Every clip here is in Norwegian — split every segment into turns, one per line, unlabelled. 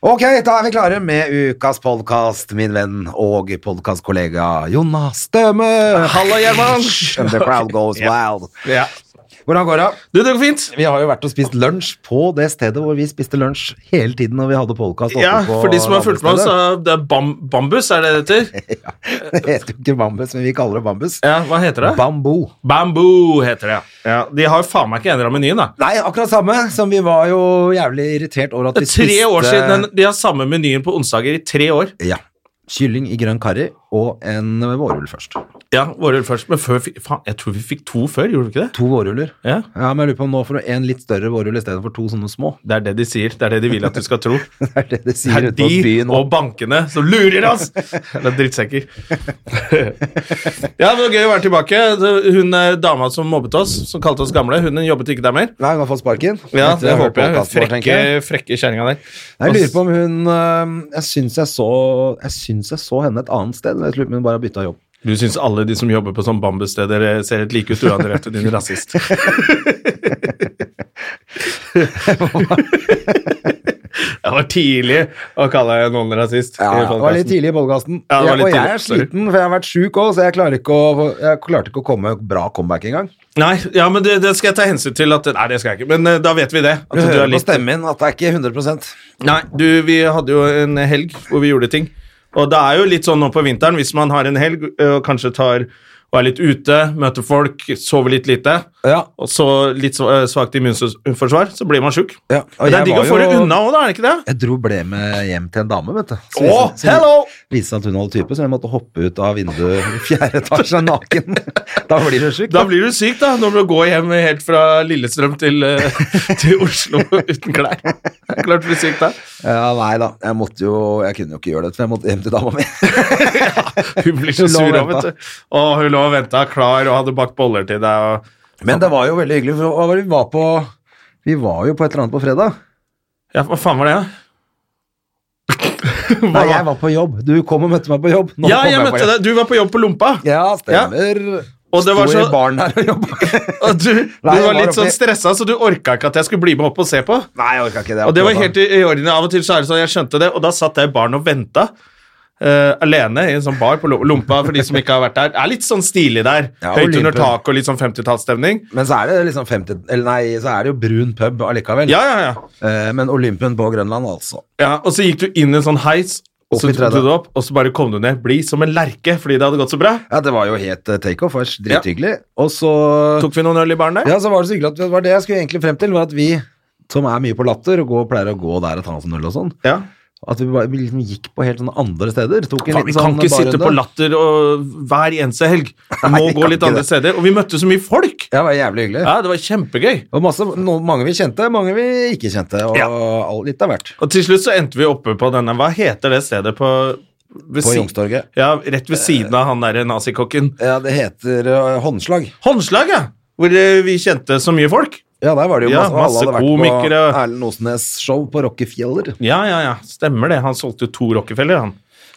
Ok, da er vi klare med ukas podkast, min venn og podkastkollega Jonas Støme. Hallo, Gjerman. And the crowd goes wild.
Ja.
Hvordan går det?
Du, det går fint.
Vi har jo vært og spist lunsj på det stedet hvor vi spiste lunsj hele tiden når vi hadde podkast.
Ja, for de som har fulgt med oss, så det er bam Bambus, er det det heter?
Det heter jo ikke bambus, men vi kaller det bambus.
Ja, hva heter det?
Bambo.
Bamboo heter det, ja. ja. De har jo faen meg ikke endra menyen, da.
Nei, akkurat samme som vi var jo jævlig irritert over at
Det
vi
er tre
spiste
år siden den, De har samme menyen på onsdager i tre år.
Ja. Kylling i grønn karri og en vårrull først.
Ja, vårrull først, men før fikk Faen, jeg tror vi fikk to før, gjorde vi ikke det?
To vårruller.
Ja.
Ja, men jeg lurer på om nå får du en litt større vårrull i stedet for to sånne små.
Det er det de sier. Det er det de vil at du skal tro.
Det er det de
Det
sier
er
ute på
de
byen.
og bankene som lurer oss! Eller drittsekker. Ja, det var gøy å være tilbake. Hun eh, dama som mobbet oss, som kalte oss gamle, hun jobbet ikke der mer.
Nei, hun har fått sparken.
Ja,
Etter å
det
ha hørt
håper jeg.
podcasten vår, tenker
Frekke, frekke kjerringa der.
Jeg lurer på om hun øh, Jeg syns jeg så Jeg syns jeg så henne et annet sted, men jeg lurer på om hun bare har bytta jobb.
Du syns alle de som jobber på sånn bambussteder eh, ser helt like ut uansett om du er rasist. Jeg var tidlig å kalle noen rasist. i
det var litt
podcasten.
tidlig i podkasten.
Ja, det var litt
og jeg
tidlig,
er
sorry.
sliten, for jeg har vært sjuk òg, så jeg, klarer ikke å, jeg klarte ikke å komme med bra comeback engang.
Nei, ja, men det, det skal jeg ta hensyn til. At, nei, det skal jeg ikke, men eh, da vet vi det. At
Du hører
er
på stemmen min at det er ikke 100
Nei, du, vi hadde jo en helg hvor vi gjorde ting. Og det er jo litt sånn nå på vinteren, hvis man har en helg ø, og kanskje tar og er litt ute, møter folk, sover litt lite,
Ja.
og så litt så- ø, svakt immunforsvar, så blir man sjuk.
Ja, og
Men det
jeg
er digg
var
å få det
jo-
unna òg, da, er det ikke det?
Jeg dro ble med hjem til en dame, vet du. Så
Å,
viste- så
hello!
viste seg at hun holdt type, så jeg måtte hoppe ut av vinduet i fjerde etasje naken. Da blir du sjuk.
Da blir du syk, da, når du går hjem helt fra Lillestrøm til, ø, til Oslo uten klær. Det er Klart du blir syk da.
Ja, nei da. Jeg måtte jo Jeg kunne jo ikke gjøre det, for jeg måtte hjem til dama mi.
Hun blir så
Hun lå
sur,
og
av,
ventet.
vet du. Og hun lå og venta klar og hadde bakt boller til deg. og...
Men det var jo veldig hyggelig, for hva var det vi var på Vi var jo på et eller annet på fredag.
Ja, hva faen var det, da? Hva
Nei,
da?
jeg var på jobb. Du kom og møtte meg på jobb. Nå
Ja,
kom
jeg
på
møtte
jobb.
deg. Du var på jobb på Lompa.
Ja, stemmer.
Og det var
Sto i
så-
baren her og jobba.
Og du, du
Nei, jeg
var
var
litt
oppi-
sånn stressa, så du orka ikke at jeg skulle bli med opp og se på.
Nei, jeg orka ikke det.
Og det var helt i i orden. Av og til så er det sånn, jeg skjønte det, og da satt jeg i baren og venta. eh, alene i en sånn bar på Lo- Lompa, for de som ikke har vært der. Det er litt sånn stilig der.
Ja, og
Høyt under
lympen.
taket og litt sånn 50-tallsstemning.
Men så er det liksom 50 Eller nei, så er det jo brun pub allikevel.
Ja, ja, ja.
Eh, men Olympen på Grønland, altså.
Ja, og så gikk du inn i en sånn heis, og
Opp
så
i
tok du
tredje.
det opp, og så bare kom du ned. Blid som en lerke fordi det hadde gått så bra.
Ja, det var jo helt eh, takeoff. det var Drithyggelig. Og så
Tok vi noen øl i baren der?
Ja, så var det så hyggelig at det var det jeg skulle egentlig frem til, var at vi som er mye på latter og går, pleier å gå der og ta oss en øl og sånn,
Ja.
at vi, bare, vi liksom gikk på helt sånne andre steder. Tok en
Faen, vi
liten
kan
sånn
ikke sitte
barrunde.
på latter og hver eneste helg. Vi
Nei,
må
vi
gå
kan
litt
ikke
andre
det.
steder. Og vi møtte så mye folk!
Ja, det var jævlig hyggelig.
Ja, Det var kjempegøy.
Og masse, no, mange vi kjente, mange vi ikke kjente, og
Ja.
all, litt av hvert.
Og til slutt så endte vi oppe på denne Hva heter det stedet på ved
På
si-
Youngstorget.
Ja, rett ved siden av han derre nazikokken.
Ja, det heter eh, håndslag.
Håndslag, ja! Hvor eh, vi kjente så mye folk.
Ja, der var det jo
Ja,
masse, alle
masse
hadde vært
komikere.
på Erlend Osnes show på Rockefeller.
Ja, ja, ja. Stemmer det. Han solgte jo to Rockefeller, han.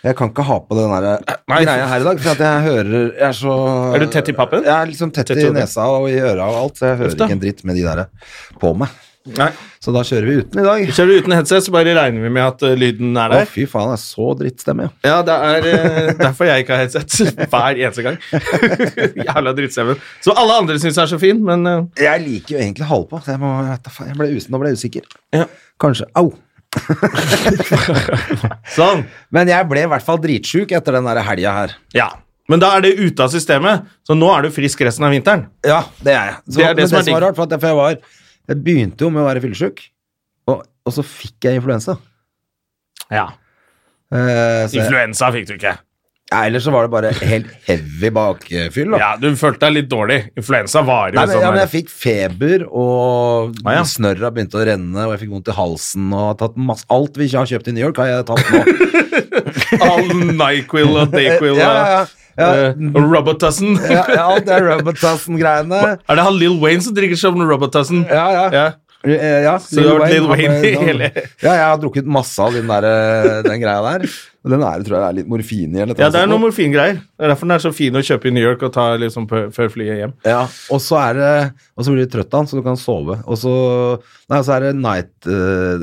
Jeg kan ikke ha på den der
Nei.
greia her i dag, for at jeg hører Jeg er så
Er du tett i pappen?
Jeg er liksom tett,
Tett i
i
hodet.
nesa og i øra og alt, så jeg hører
Uff da.
ikke en dritt med de der på meg.
Nei.
Så da kjører vi uten i dag.
Kjører du uten headset, så bare regner vi med at eh, lyden er
Å,
der.
fy faen, det er så drittstemme, ja.
Ja, det er eh, derfor jeg ikke har headset hver eneste gang. Jævla drittseven. Som alle andre syns er så fin, men eh,
Jeg liker jo egentlig halvpå, så jeg, må, jeg, vet da faen, jeg ble us nå ble jeg usikker.
Ja.
Kanskje. Au!
sånn.
Men jeg ble i hvert fall dritsjuk etter den der helga her.
Ja. Men da er det ute av systemet, så nå er du frisk resten av vinteren.
Ja, det er jeg. Så,
Det er det
men
som er
det som var
digg.
rart, for, at jeg, for jeg var Jeg begynte jo med å være fyllesyk, og, og så fikk jeg influensa.
Ja.
Eh, så jeg-
Influensa fikk du ikke.
Ja, ellers så var det bare helt heavy bakfyll. Da.
Ja, du følte deg litt dårlig. Influensa varer
Nei,
jo
men,
sånn.
ja, men
her.
jeg fikk feber, og
Ah, ja.
snørra begynte å renne, og jeg fikk vondt i halsen. og har tatt masse, Alt vi ikke har kjøpt i New York, har jeg tatt nå.
All Nyquil og Dayquil
Ja, ja, ja. Ja.
og Robotussin.
ja, ja, alt det Robotussin-greiene.
Er det han Lill Wayne som drikker som Robotussin?
Ja, ja.
Ja.
Eh, ja
Så du har vært Lil Wayne
han, eh,
i
han-
hele-
Ja, jeg har drukket masse av den, der, eh, den greia der. Og Den er, tror jeg er litt morfin i. eller et
Ja,
eller
det er
annet
noen
sånt.
morfingreier. Det er derfor den er så fin å kjøpe i New York og ta liksom på, før flyet hjem.
Ja, og så er det Og så blir du trøtt av den, så du kan sove. Og så Nei, så er det night eh,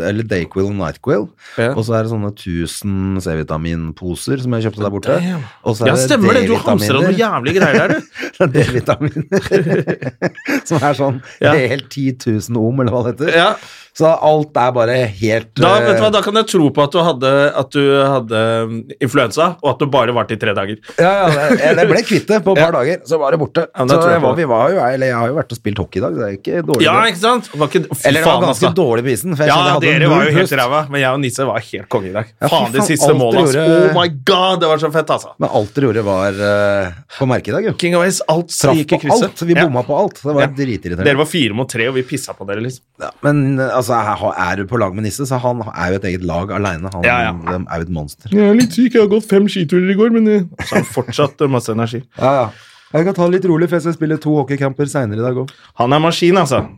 Eller Dayquil og Nightquil.
Ja.
Og så er det sånne 1000 C-vitaminposer som jeg kjøpte der borte. Og så er
Ja, stemmer det! Du hamstrer noen
D-vitaminer.
jævlige greier der, du.
Det er D-vitaminer. som er sånn
Ja.
helt 10 000 ohm, eller hva det heter.
Ja.
Så alt er bare helt
Da,
eh,
vet du hva, da kan jeg tro på at du hadde, at du hadde um, influensa, og at du bare varte i tre dager.
Ja, ja, det, jeg- det ble kvitt det på et par dager, så var det borte.
Ja, men da
så
tror jeg
jeg
på
var,
det.
vi var jo, eller jeg har jo vært og spilt hockey i dag, det er ikke dårlig.
Ja,
det.
ikke sant? Det Var ikke, fy
eller det var
faen,
ganske
altså.
dårlig på isen. For jeg
Ja,
kjente jeg hadde
dere
null
var jo helt
pust.
ræva, men jeg og Nisse var helt konge i dag.
Ja, fy
Faen, det
faen,
siste
alt
målet, ass.
gjorde-
Oh my god, det var så fett, altså.
Men alt dere gjorde var eh, på merket i dag, jo.
King of Ace, alt som
Traff
gikk i
på
krysset.
alt. Vi
Ja.
bomma på alt. Det var
Ja. Dere
dritirriterende.
var fire mot tre, og vi pissa på dere, liksom.
Ja, men eh, altså, her har- er du på lag med Nisse, så han er jo et eget lag aleine. Han
Ja, ja.
eh, er jo et monster.
Jeg er litt syk, jeg har gått fem skiturer i går, men Så har han fortsatt eh, masse energi.
Ja, ja. Jeg kan ta det litt rolig, for jeg skal spille to hockeycamper seinere i dag òg.
Han er maskin, altså.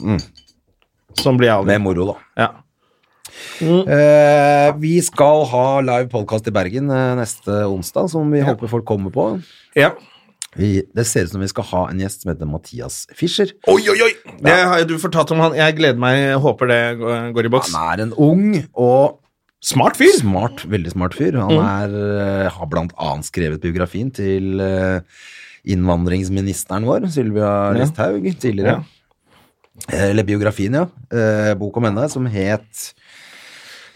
Mm.
Sånn blir jeg aldri.
Med moro, da.
Ja.
Eh, vi skal ha live podkast i Bergen eh, neste onsdag, som vi håper folk kommer på.
ja.
Vi, det ser ut som vi skal ha en gjest som heter Mathias Fischer.
Oi, oi, oi! Det har jo du fortalt om han. Jeg gleder meg, jeg håper det går går i boks.
Han er en ung og
Smart fyr!
smart, veldig smart fyr. Han
Mm.
er, eh, har blant annet skrevet biografien til eh, innvandringsministeren vår, Sylvia
Ja.
Listhaug, tidligere. Eh, Eller biografien, ja. Eh, Bok om henne, som het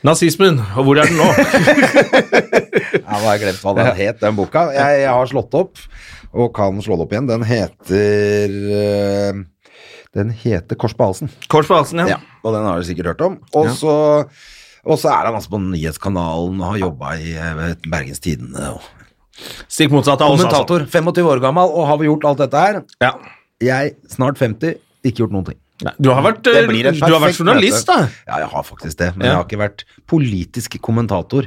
Nazismen, og hvor er den nå?
Jeg har glemt hva den het, den boka. Jeg, jeg har slått opp, og kan slå det opp igjen. Den heter eh, Den heter Kors på halsen.
Kors på halsen, ja.
Ja, og den har du sikkert hørt om. Og så og så er han altså på Nyhetskanalen og har jobba i eh, Bergens Tidende. og-
Stikk motsatt av oss, altså.
Kommentator, 25 år gammel, og har vi gjort alt dette her?
Ja.
Jeg, snart 50, ikke gjort noen ting.
Nei, Du har vært, eh,
Det blir et
du har vært
perfekt
journalist, da.
møte. Ja, jeg har faktisk det, men
Ja.
jeg har ikke vært politisk kommentator.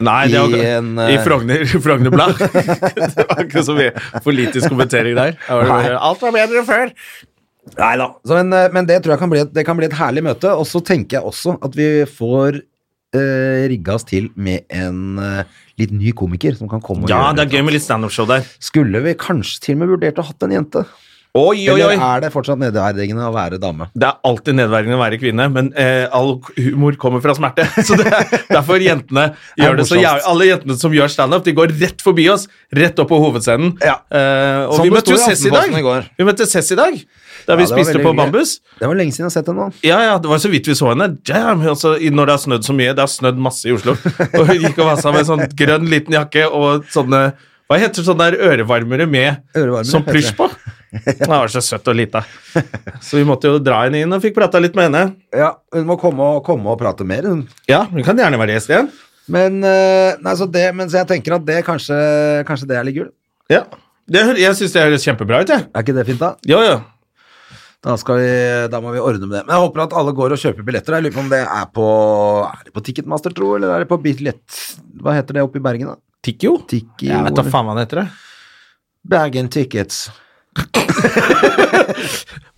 Nei, det var,
I en,
I
eh,
Frogner, Frogner Blad. det var ikke så mye politisk kommentering der. Det var bare, Alt var bedre før.
Nei da. Så, men, eh, men det tror jeg kan bli, et, det kan bli et herlig møte. Og så tenker jeg også at vi får eh, rigga oss til med en eh, litt ny komiker som kan komme og
Ja,
gjøre
det er gøy med litt standup-show der.
Skulle vi kanskje til og med vurdert å hatt en jente?
Oi, oi, oi.
Eller er det fortsatt nedverdigende å være dame?
Det er alltid nedverdigende å være kvinne, men eh, all humor kommer fra smerte. Så det er derfor jentene gjør det så
morsomst.
jævlig. Alle jentene som gjør standup, de går rett forbi oss, rett opp på hovedscenen.
Ja.
Eh, og
Som
vi
det
møtte jo
sto i
Cess i dag.
Aftenposten i går.
Vi møtte Cess i dag, da vi
Ja, det var
spiste
veldig
på
hyggelig.
Bambus.
Det var lenge siden jeg har sett henne nå.
Ja, ja, det var så vidt vi så henne. Damn, altså, i- når det har snødd så mye. Det har snødd masse i Oslo. Og hun gikk og vassa med sånn grønn liten jakke og sånne hva heter sånne der ørevarmere med
Ørevarmere,
som
heter
plysj på? Hun var så søt og lita. Så vi måtte jo dra henne inn og fikk prata litt med henne.
Ja, Hun må komme og, komme og prate mer, hun.
Ja, hun kan gjerne være gjest igjen.
Men, eh, nei, så det, men så jeg tenker at det kanskje, kanskje det er litt gull.
Ja. Det, hø- jeg syns det høres kjempebra ut, jeg.
Er ikke det fint, da?
Jo, jo.
Da, skal vi, da må vi ordne med det. Men jeg håper at alle går og kjøper billetter. Jeg lurer på om det er på, er det på Ticketmaster, tro, eller er det på billett... Hva heter det oppe i Bergen, da?
Tikkio?
Tikki...
Jeg vet da faen hva han heter. det.
Bergen Tickets.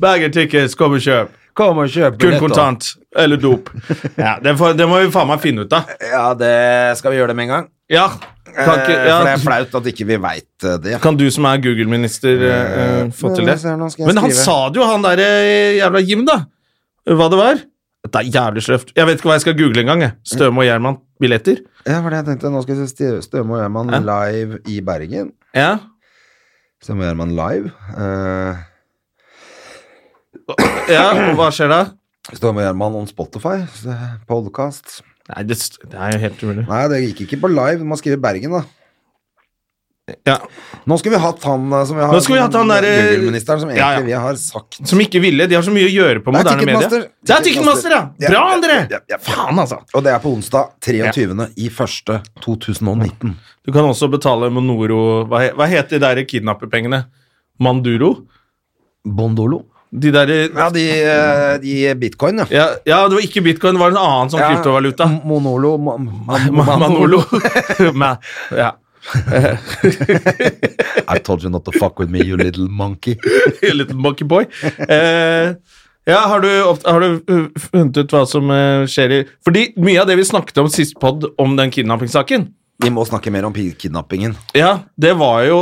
Berger Tickets, kom og kjøp.
Kom og kjøp
Kun
billetter.
kontant. Eller dop. Ja, det, får, det må vi faen meg finne ut av.
Ja, det skal vi gjøre det med en gang.
Ja. Kan, ikke,
Eh, For det
ja.
er flaut at ikke vi veit det.
kan du som er Google-minister eh, eh, få til det?
Men, se, nå skal jeg
Men han
skrive.
sa det jo, han der eh, jævla Jim, da. Hva det var. Dette er jævlig sløvt. Jeg vet ikke hva jeg skal google engang. jeg. Støme og Gjerman billetter.
Ja, for det jeg tenkte, nå skal vi se Støme og Gjerman
Ja.
live i Bergen.
Ja.
Støme og Gjerman live. Eh,
ja, og Hva skjer da?
Støme og Gjerman on Spotify, så- podcast.
Nei, det, st- det er jo helt umulig.
Nei, det gikk ikke på live, man skriver Bergen da.
Ja.
Nå skulle vi hatt han eh, som vi har
Nå skulle vi hatt han der, eh,
Google-ministeren som egentlig
ja, ja.
vi har sagt
Som ikke ville. De har så mye å gjøre på
Det er
moderne medier.
Ticketmaster.
Det er Ticketmaster, ja!
Ja,
Bra,
ja,
André!
ja, ja.
Faen, altså.
Og det er på onsdag 23. i første 2019.
Du kan også betale Monoro Hva, he, hva heter de der kidnapperpengene? Manduro?
Bondolo?
De der
Ja, de, eh, de bitcoin, ja.
ja, ja, det var ikke bitcoin, det var en annen sånn kryptovaluta.
M- Monolo ma, ma,
Ma- Manolo. Ma- ja.
I told you not to fuck with me, you little monkey.
Little monkey boy. Eh, ja, har du, opp- har du uh, funnet ut hva som eh, skjer i Fordi mye av det vi snakket om sist pod, om den kidnappingssaken
Vi må snakke mer om pi- kidnappingen.
Ja, det var jo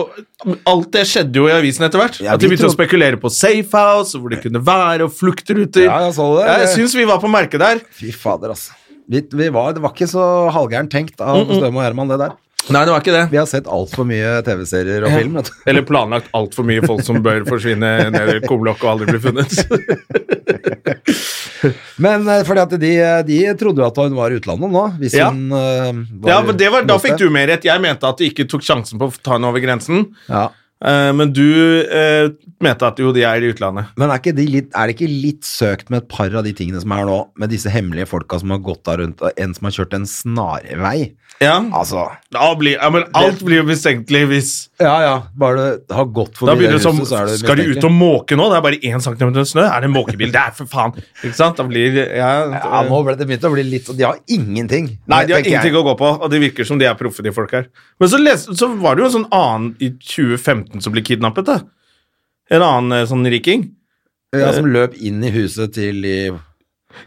Alt det skjedde jo i avisen etter hvert.
Ja,
at de
vi
begynte å
trodde-
spekulere på safehouse, hvor det kunne være, og fluktruter.
Ja, jeg så det.
Ja, jeg syns vi var på merket der.
Fy fader, altså. Vi, vi var, det var ikke så halvgærent tenkt av
Mm,
Støme og Herman, det der.
Nei, det var ikke
Vi
det.
har sett altfor mye TV-serier og film. Vet du.
Eller planlagt altfor mye folk som bør forsvinne ned i et kumlokk og aldri bli funnet.
Men eh, fordi at de, de trodde jo at hun var i utlandet nå, hvis
Ja.
hun eh, var
Ja, men det var, Da fikk du mer rett. Jeg mente at de ikke tok sjansen på å ta henne over grensen.
ja.
Eh, men du eh, mente at jo, de er i utlandet.
Men er, ikke de litt, er det ikke litt søkt med et par av de tingene som er nå, med disse hemmelige folka som har gått da rundt, og en som har kjørt en snarvei?
Ja,
Altså
da blir, ja men Alt blir jo mistenkelig hvis
Ja, ja. Bare du har gått forbi
da blir det
det
som,
huset, så er det
Skal de
mistenkelig.
ut og måke nå? Det er bare én centimeter snø. Er det en måkebil? Det er for faen Ikke sant? Da blir ja, Eh,
Ja, nå ble det begynt å bli litt De har ingenting.
Nei, de har
tenker jeg.
ingenting å gå på, og det virker som de er proffe, de folk her. Men så, les, så var det jo en sånn annen i 2015 som ble kidnappet, da. En annen eh, sånn riking.
Ja, som løp inn i huset til de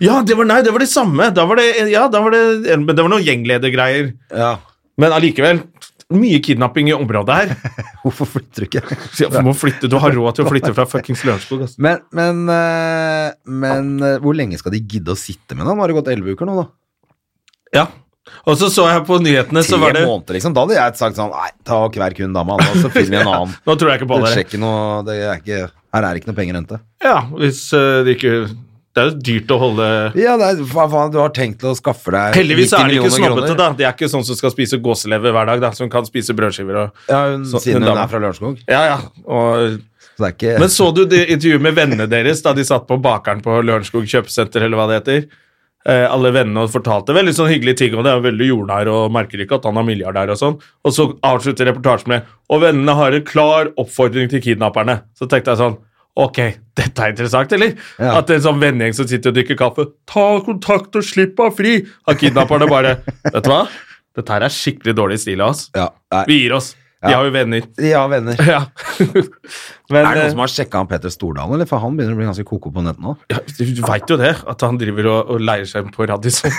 Ja, det var, nei, det var det samme. Da var det, ja, da var det, men det var noen gjengledergreier.
Ja,
Men allikevel, mye kidnapping i området her.
hvorfor flytter du ikke?
Så Du må flytte, du har råd til å flytte fra fuckings Lørenskog. altså. ass.
Men, men, eh, men eh, hvor lenge skal de gidde å sitte med den? Nå har det gått elleve uker nå, da.
Ja. Og så så jeg på nyhetene, så
Tre
var det
måneder, liksom. Da hadde jeg sagt sånn Nei, ta hver kun dama, og så finner vi en annen.
Nå tror jeg ikke på
Det
det.
skjer ikke noe det er ikke, Her er det ikke noe penger å hente.
Ja, hvis eh, det ikke Det er jo dyrt å holde
Ja, det er, hva faen, du har tenkt å skaffe deg
Heldigvis
90
er de ikke
millioner
snobbete,
kroner.
da. De er ikke sånn som skal spise gåselever hver dag, da. Som kan spise brødskiver og
Ja, hun,
Så- hun
siden hun
dama.
er fra Lørenskog.
Ja, ja. Og,
Så det er ikke
men så du det intervjuet med vennene deres da de satt på bakeren på Lørenskog kjøpesenter, eller hva det heter? Eh, alle vennene og fortalte veldig sånn hyggelige ting, og det er veldig jordnær og merker ikke at han er milliardær og sånn. Og så avslutter reportasjen med Og vennene har en klar oppfordring til kidnapperne. Så tenkte jeg sånn Ok, dette er interessant, eller?
Ja.
At en sånn vennegjeng som sitter og drikker kaffe Ta kontakt og slipp av fri! Har kidnapperne bare Vet du hva? Dette her er skikkelig dårlig stil av oss.
ja, nei,
Vi gir oss. De
Ja.
har jo venner.
De har venner.
Ja. Men eh,
er det noen som har sjekka han Petter Stordalen, eller? For han begynner å bli ganske koko på nett nå.
ja, du veit jo det, at han driver og, og leier seg inn på Radisson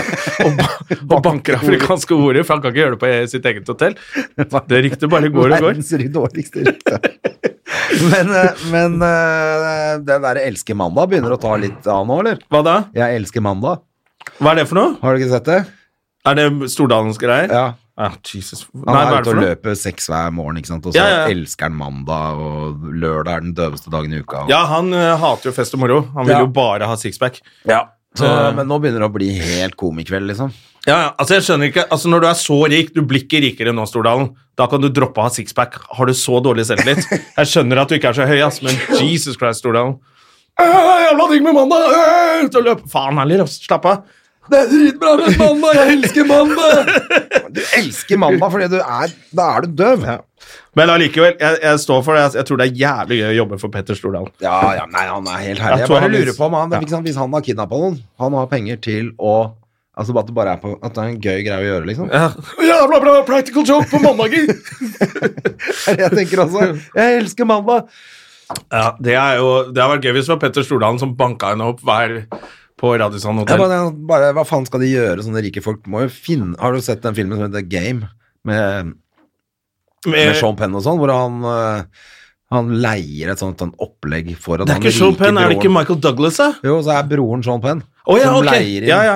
og, ba og banker afrikanske ordet, for han kan ikke gjøre det på sitt eget hotell. Det ryktet bare går og går.
Verdens dårligste rykte. men eh, men eh, den derre Elsker mandag begynner å ta litt av nå, eller?
Hva da?
Jeg elsker mandag.
Hva er det for noe?
Har du ikke sett det?
Er det Stordalens greier?
Ja.
Ah, Jesus.
Han
Nei, hva
er
er det
ute
for
og
noe?
løper seks hver morgen, ikke sant? og så
Ja, ja, ja.
elsker han mandag, og lørdag er den døveste dagen i uka. Og...
Ja, han eh, hater jo fest og moro. Han vil
Ja.
jo bare ha sixpack.
Så, eh, men nå begynner det å bli helt komikveld, liksom.
Ja, ja, altså jeg skjønner ikke Altså Når du er så rik, du blir ikke rikere nå, Stordalen. Da kan du droppe å ha sixpack. Har du så dårlig selvtillit? Jeg skjønner at du ikke er så høy, ass, men Jesus Christ, Stordalen. Øh, Jævla digg med mandag! øh, Ut og løpe! Faen heller, ass. Slapp av. Det er dritbra med mandag! Jeg elsker mandag!
Du elsker mandag fordi du er Da er du døv. Ja,
Men allikevel, jeg, jeg står for det. Jeg, jeg tror det er jævlig gøy å jobbe for Petter Stordalen.
ja, nei, han er helt
Jeg
herlig. Jeg
tror
bare
han
lurer
is-
på om han
Ja.
ikke sant, Hvis han har kidnappa noen, han har penger til å Altså at det bare er på At det er en gøy greie å gjøre, liksom.
Jævla bra practical joke på mandager!
Jeg tenker også Jeg elsker mandag!
ja, det, er jo, det har vært gøy hvis det var Petter Stordalen som banka henne opp hver på Radisson
Jeg
hotell.
bare, bare, hva faen skal de gjøre, sånne rike folk? Må jo finne Har du sett den filmen som heter Game? Med
Eh.
med Sean Penn og sånn, hvor han, øh, han leier et sånt sånn opplegg for at
Det er
han
ikke Sean
rike
Penn, er det
broren-
ikke Michael Douglas, da?
Jo, så er broren Sean Penn.
Å ja,
som
ok.
leier inn
Ja, ja.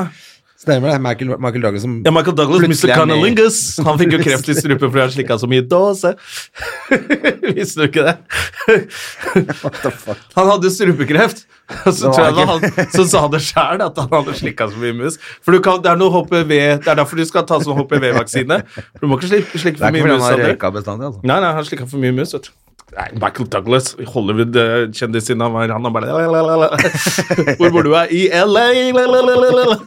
Stemmer det. Michael, Michael Douglas som
Ja, Michael Douglas, Mr.
Plutselig er han med i-
Cunnilingus. Han fikk jo kreft i strupen fordi han slikka så mye dåse. Visste du ikke det?
What the fuck?
Han hadde strupekreft. Og så
Det var
tror jeg det
ikke-
var han som sa det sjøl, at han hadde slikka så mye mus. For du kan, det, er noe HPV, det er derfor du skal ta sånn HPV-vaksine. For Du må ikke slikke, slikke
Det er
for
ikke
mye
fordi
mus.
han har
André.
røyka bestandig, altså.
Nei, nei, han slikka for mye mus, vet du. Nei, Michael Douglas, Hollywood-kjendisen han var, han er bare lalalala. Hvor bor du? er? I LA? lalalala.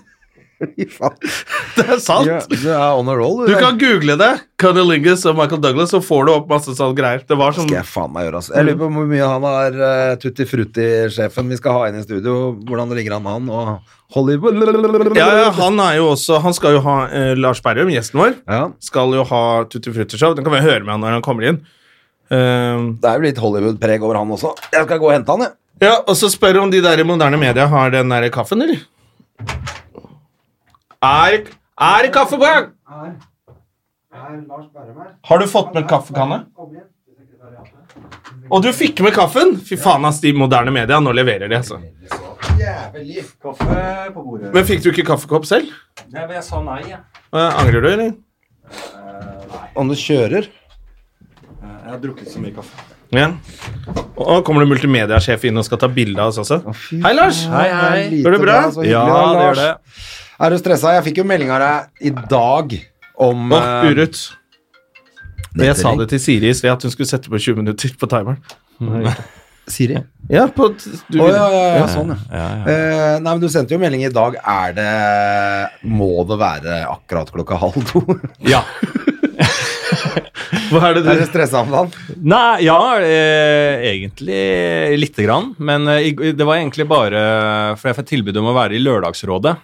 Fy faen.
Det er sant!
Ja, Du er on a roll,
Du kan google det. Cunnilingus og Michael Douglas, så får du opp masse sånne greier. Det var sånn
skal jeg faen meg gjøre, altså. Jeg lurer på hvor mye han har eh, Tutti Frutti-sjefen vi skal ha inn i studio. Hvordan det ligger an med han og Hollywood
ja, ja, han er jo også Han skal jo ha eh, Lars Berrum, gjesten vår,
Ja,
skal jo ha Tutti Frutti Show. Den kan vi høre med han når han kommer inn. Eh,
Det er jo litt Hollywood-preg over han også. Jeg skal gå og hente han, jeg.
ja, og så spør om de der i moderne media har den der kaffen, eller? Er, er det kaffe på gang? Har du fått med kaffekanne? Og du fikk med kaffen? Fy faen, ass, de moderne media. Nå leverer de, altså.
Kaffe på bordet.
Men fikk du ikke kaffekopp selv?
Nei, men jeg sa nei, jeg.
Eh, Angrer du, eller?
Om du kjører
Jeg har drukket så mye kaffe.
Ja. Og kommer det multimediasjef inn og skal ta bilde av oss også. Hei, Lars!
faen, det er
Går det
lite
bra?
bra, så hyggelig, da, Lars. Er du stressa? Jeg fikk jo melding av deg i dag om
Åh,
eh,
Urut. Jeg sa det til Siri i sted, at hun skulle sette på 20 minutter på timeren.
Siri.
Ja, på t- du,
Å ja, ja, ja, sånn, ja. Eh, nei, men du sendte jo melding i dag. Er det Må det være akkurat klokka halv to?
Ja.
Hva er det
er
du
du stressa om dagen?
Nei, ja, eh, egentlig lite grann. Men eh, i- det var egentlig bare For jeg fikk tilbud om å være i Lørdagsrådet.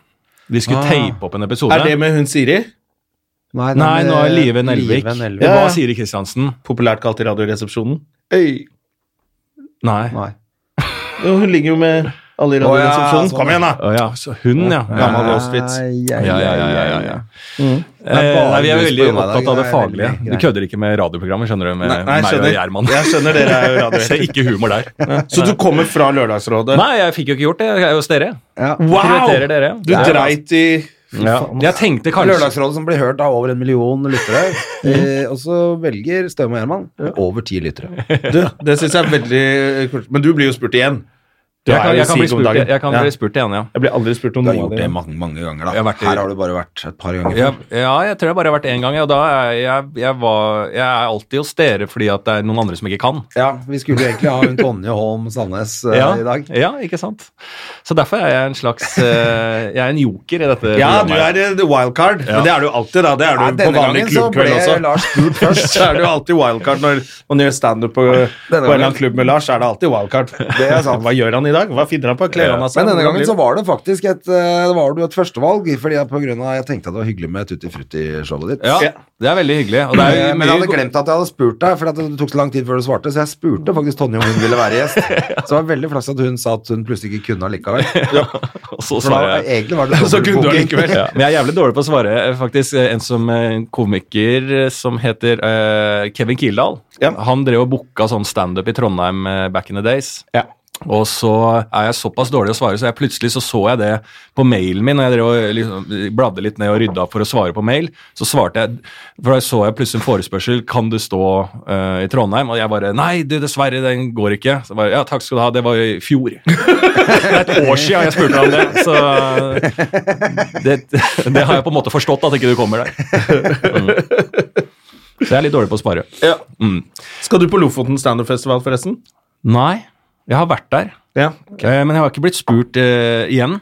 Vi skulle tape opp en episode.
Ah. Er det eh, med hun Siri?
Nei, nå
eh,
er Live Nelvik.
Live
Det
Nelvik.
var Siri Kristiansen.
Populært kalt i Radioresepsjonen.
Nei.
Nei.
Jo, hun ligger jo med alle i
Å, ja,
Radioresepsjonen.
sånn,
Kom igjen, da!
Å ja, så hun, ja.
Gammel Mm.
ja.
Auschwitz.
Ja,
Ja, ja, ja, ja, ja.
er
Eh,
bare
nei, vi er
lys på
veldig
meg i dag.
opptatt av det
Det er
faglige.
veldig
Du
greit.
kødder ikke med radioprogrammer, skjønner du,
Nei,
med
nei, jeg
meg og
skjønner.
Gjerman.
Jeg skjønner dere er jo
Så
radioresepsjon.
ikke humor der.
Så du kommer fra Lørdagsrådet?
Nei, jeg fikk jo ikke gjort det. Jeg er jo hos dere.
Ja.
Prioriterer dere.
Du dreit i
Ja. Jeg tenkte kanskje
Lørdagsrådet som blir hørt av over en million lyttere. eh, og så velger Støm og Gjerman over ti lyttere.
Du, det syns jeg er veldig eh, kult. Men du blir jo spurt igjen. Du
Jeg
er
kan,
jo
jeg kan bli
syk om
spurt,
dagen.
jeg, jeg kan
Ja.
bli spurt igjen, ja.
Jeg blir aldri spurt om
Du har
noe av
gjort
det.
det mange, mange ganger,
Jeg
da.
har vært i-
Her har du bare vært et par ganger.
Ja, ja, jeg tror jeg bare har vært én gang, og da er jeg, jeg, var, jeg er alltid hos dere fordi at det er noen andre som ikke kan.
Ja, vi skulle jo egentlig ha hun Tonje Holm Sandnes eh,
Ja,
i dag.
ja, ikke sant? Så derfor er jeg en slags eh, Jeg er en joker i dette
Ja, du
programmet.
er eh, wildcard, men det er du alltid, da. Det er du
Nei,
på
denne
vanlig
gangen så
klubbkveld
ble
også.
Lars spurt først.
Så er du alltid wildcard når man gjør standup på, på en
gangen.
eller annen klubb med Lars. så er det alltid wildcard.
Det er sant.
Hva gjør han i dag? Hva finner han på? Kler han av seg?
Men denne
Hvordan
gangen
blir-
så var det faktisk et, eh, det var det jo et førstevalg, fordi at på grunn av, jeg tenkte at det var hyggelig med Tutti Frutti-showet ditt.
Ja,
Ja.
det er veldig hyggelig. Og det er
Eh,
jo
Men jeg hadde
mye,
glemt at jeg hadde spurt deg, for at det tok så lang tid før du svarte. Så jeg spurte faktisk Tonje om hun ville være gjest. Så det var veldig flaks at hun sa at hun plutselig ikke kunne allikevel.
og så
For
svarer
da,
jeg.
egentlig var det
Så kunne du allikevel.
Ja, men jeg er jævlig dårlig på å svare. eh, Faktisk, eh, En som eh, en komiker eh, som heter eh, Kevin Kildahl,
Ja.
han drev og booka sånn standup i Trondheim eh, back in the days.
Ja.
Og så er jeg såpass dårlig å svare, så jeg plutselig så, så jeg det på mailen min. Og jeg drev og liksom bladde litt ned og rydda for å svare på mail. Så svarte jeg, for da så jeg plutselig en forespørsel kan du stå eh, i Trondheim. Og jeg bare nei, du, dessverre, den går ikke. Så bare, ja, takk skal du ha, det var jo i fjor. det er et år siden jeg spurte om det. Så det, det har jeg på en måte forstått, at ikke du kommer der. Mm. Så jeg er litt dårlig på å spare.
Ja. Skal du på Lofoten standup-festival, forresten?
Nei, jeg har vært der.
Ja.
Eh, Men jeg har ikke blitt spurt eh, igjen.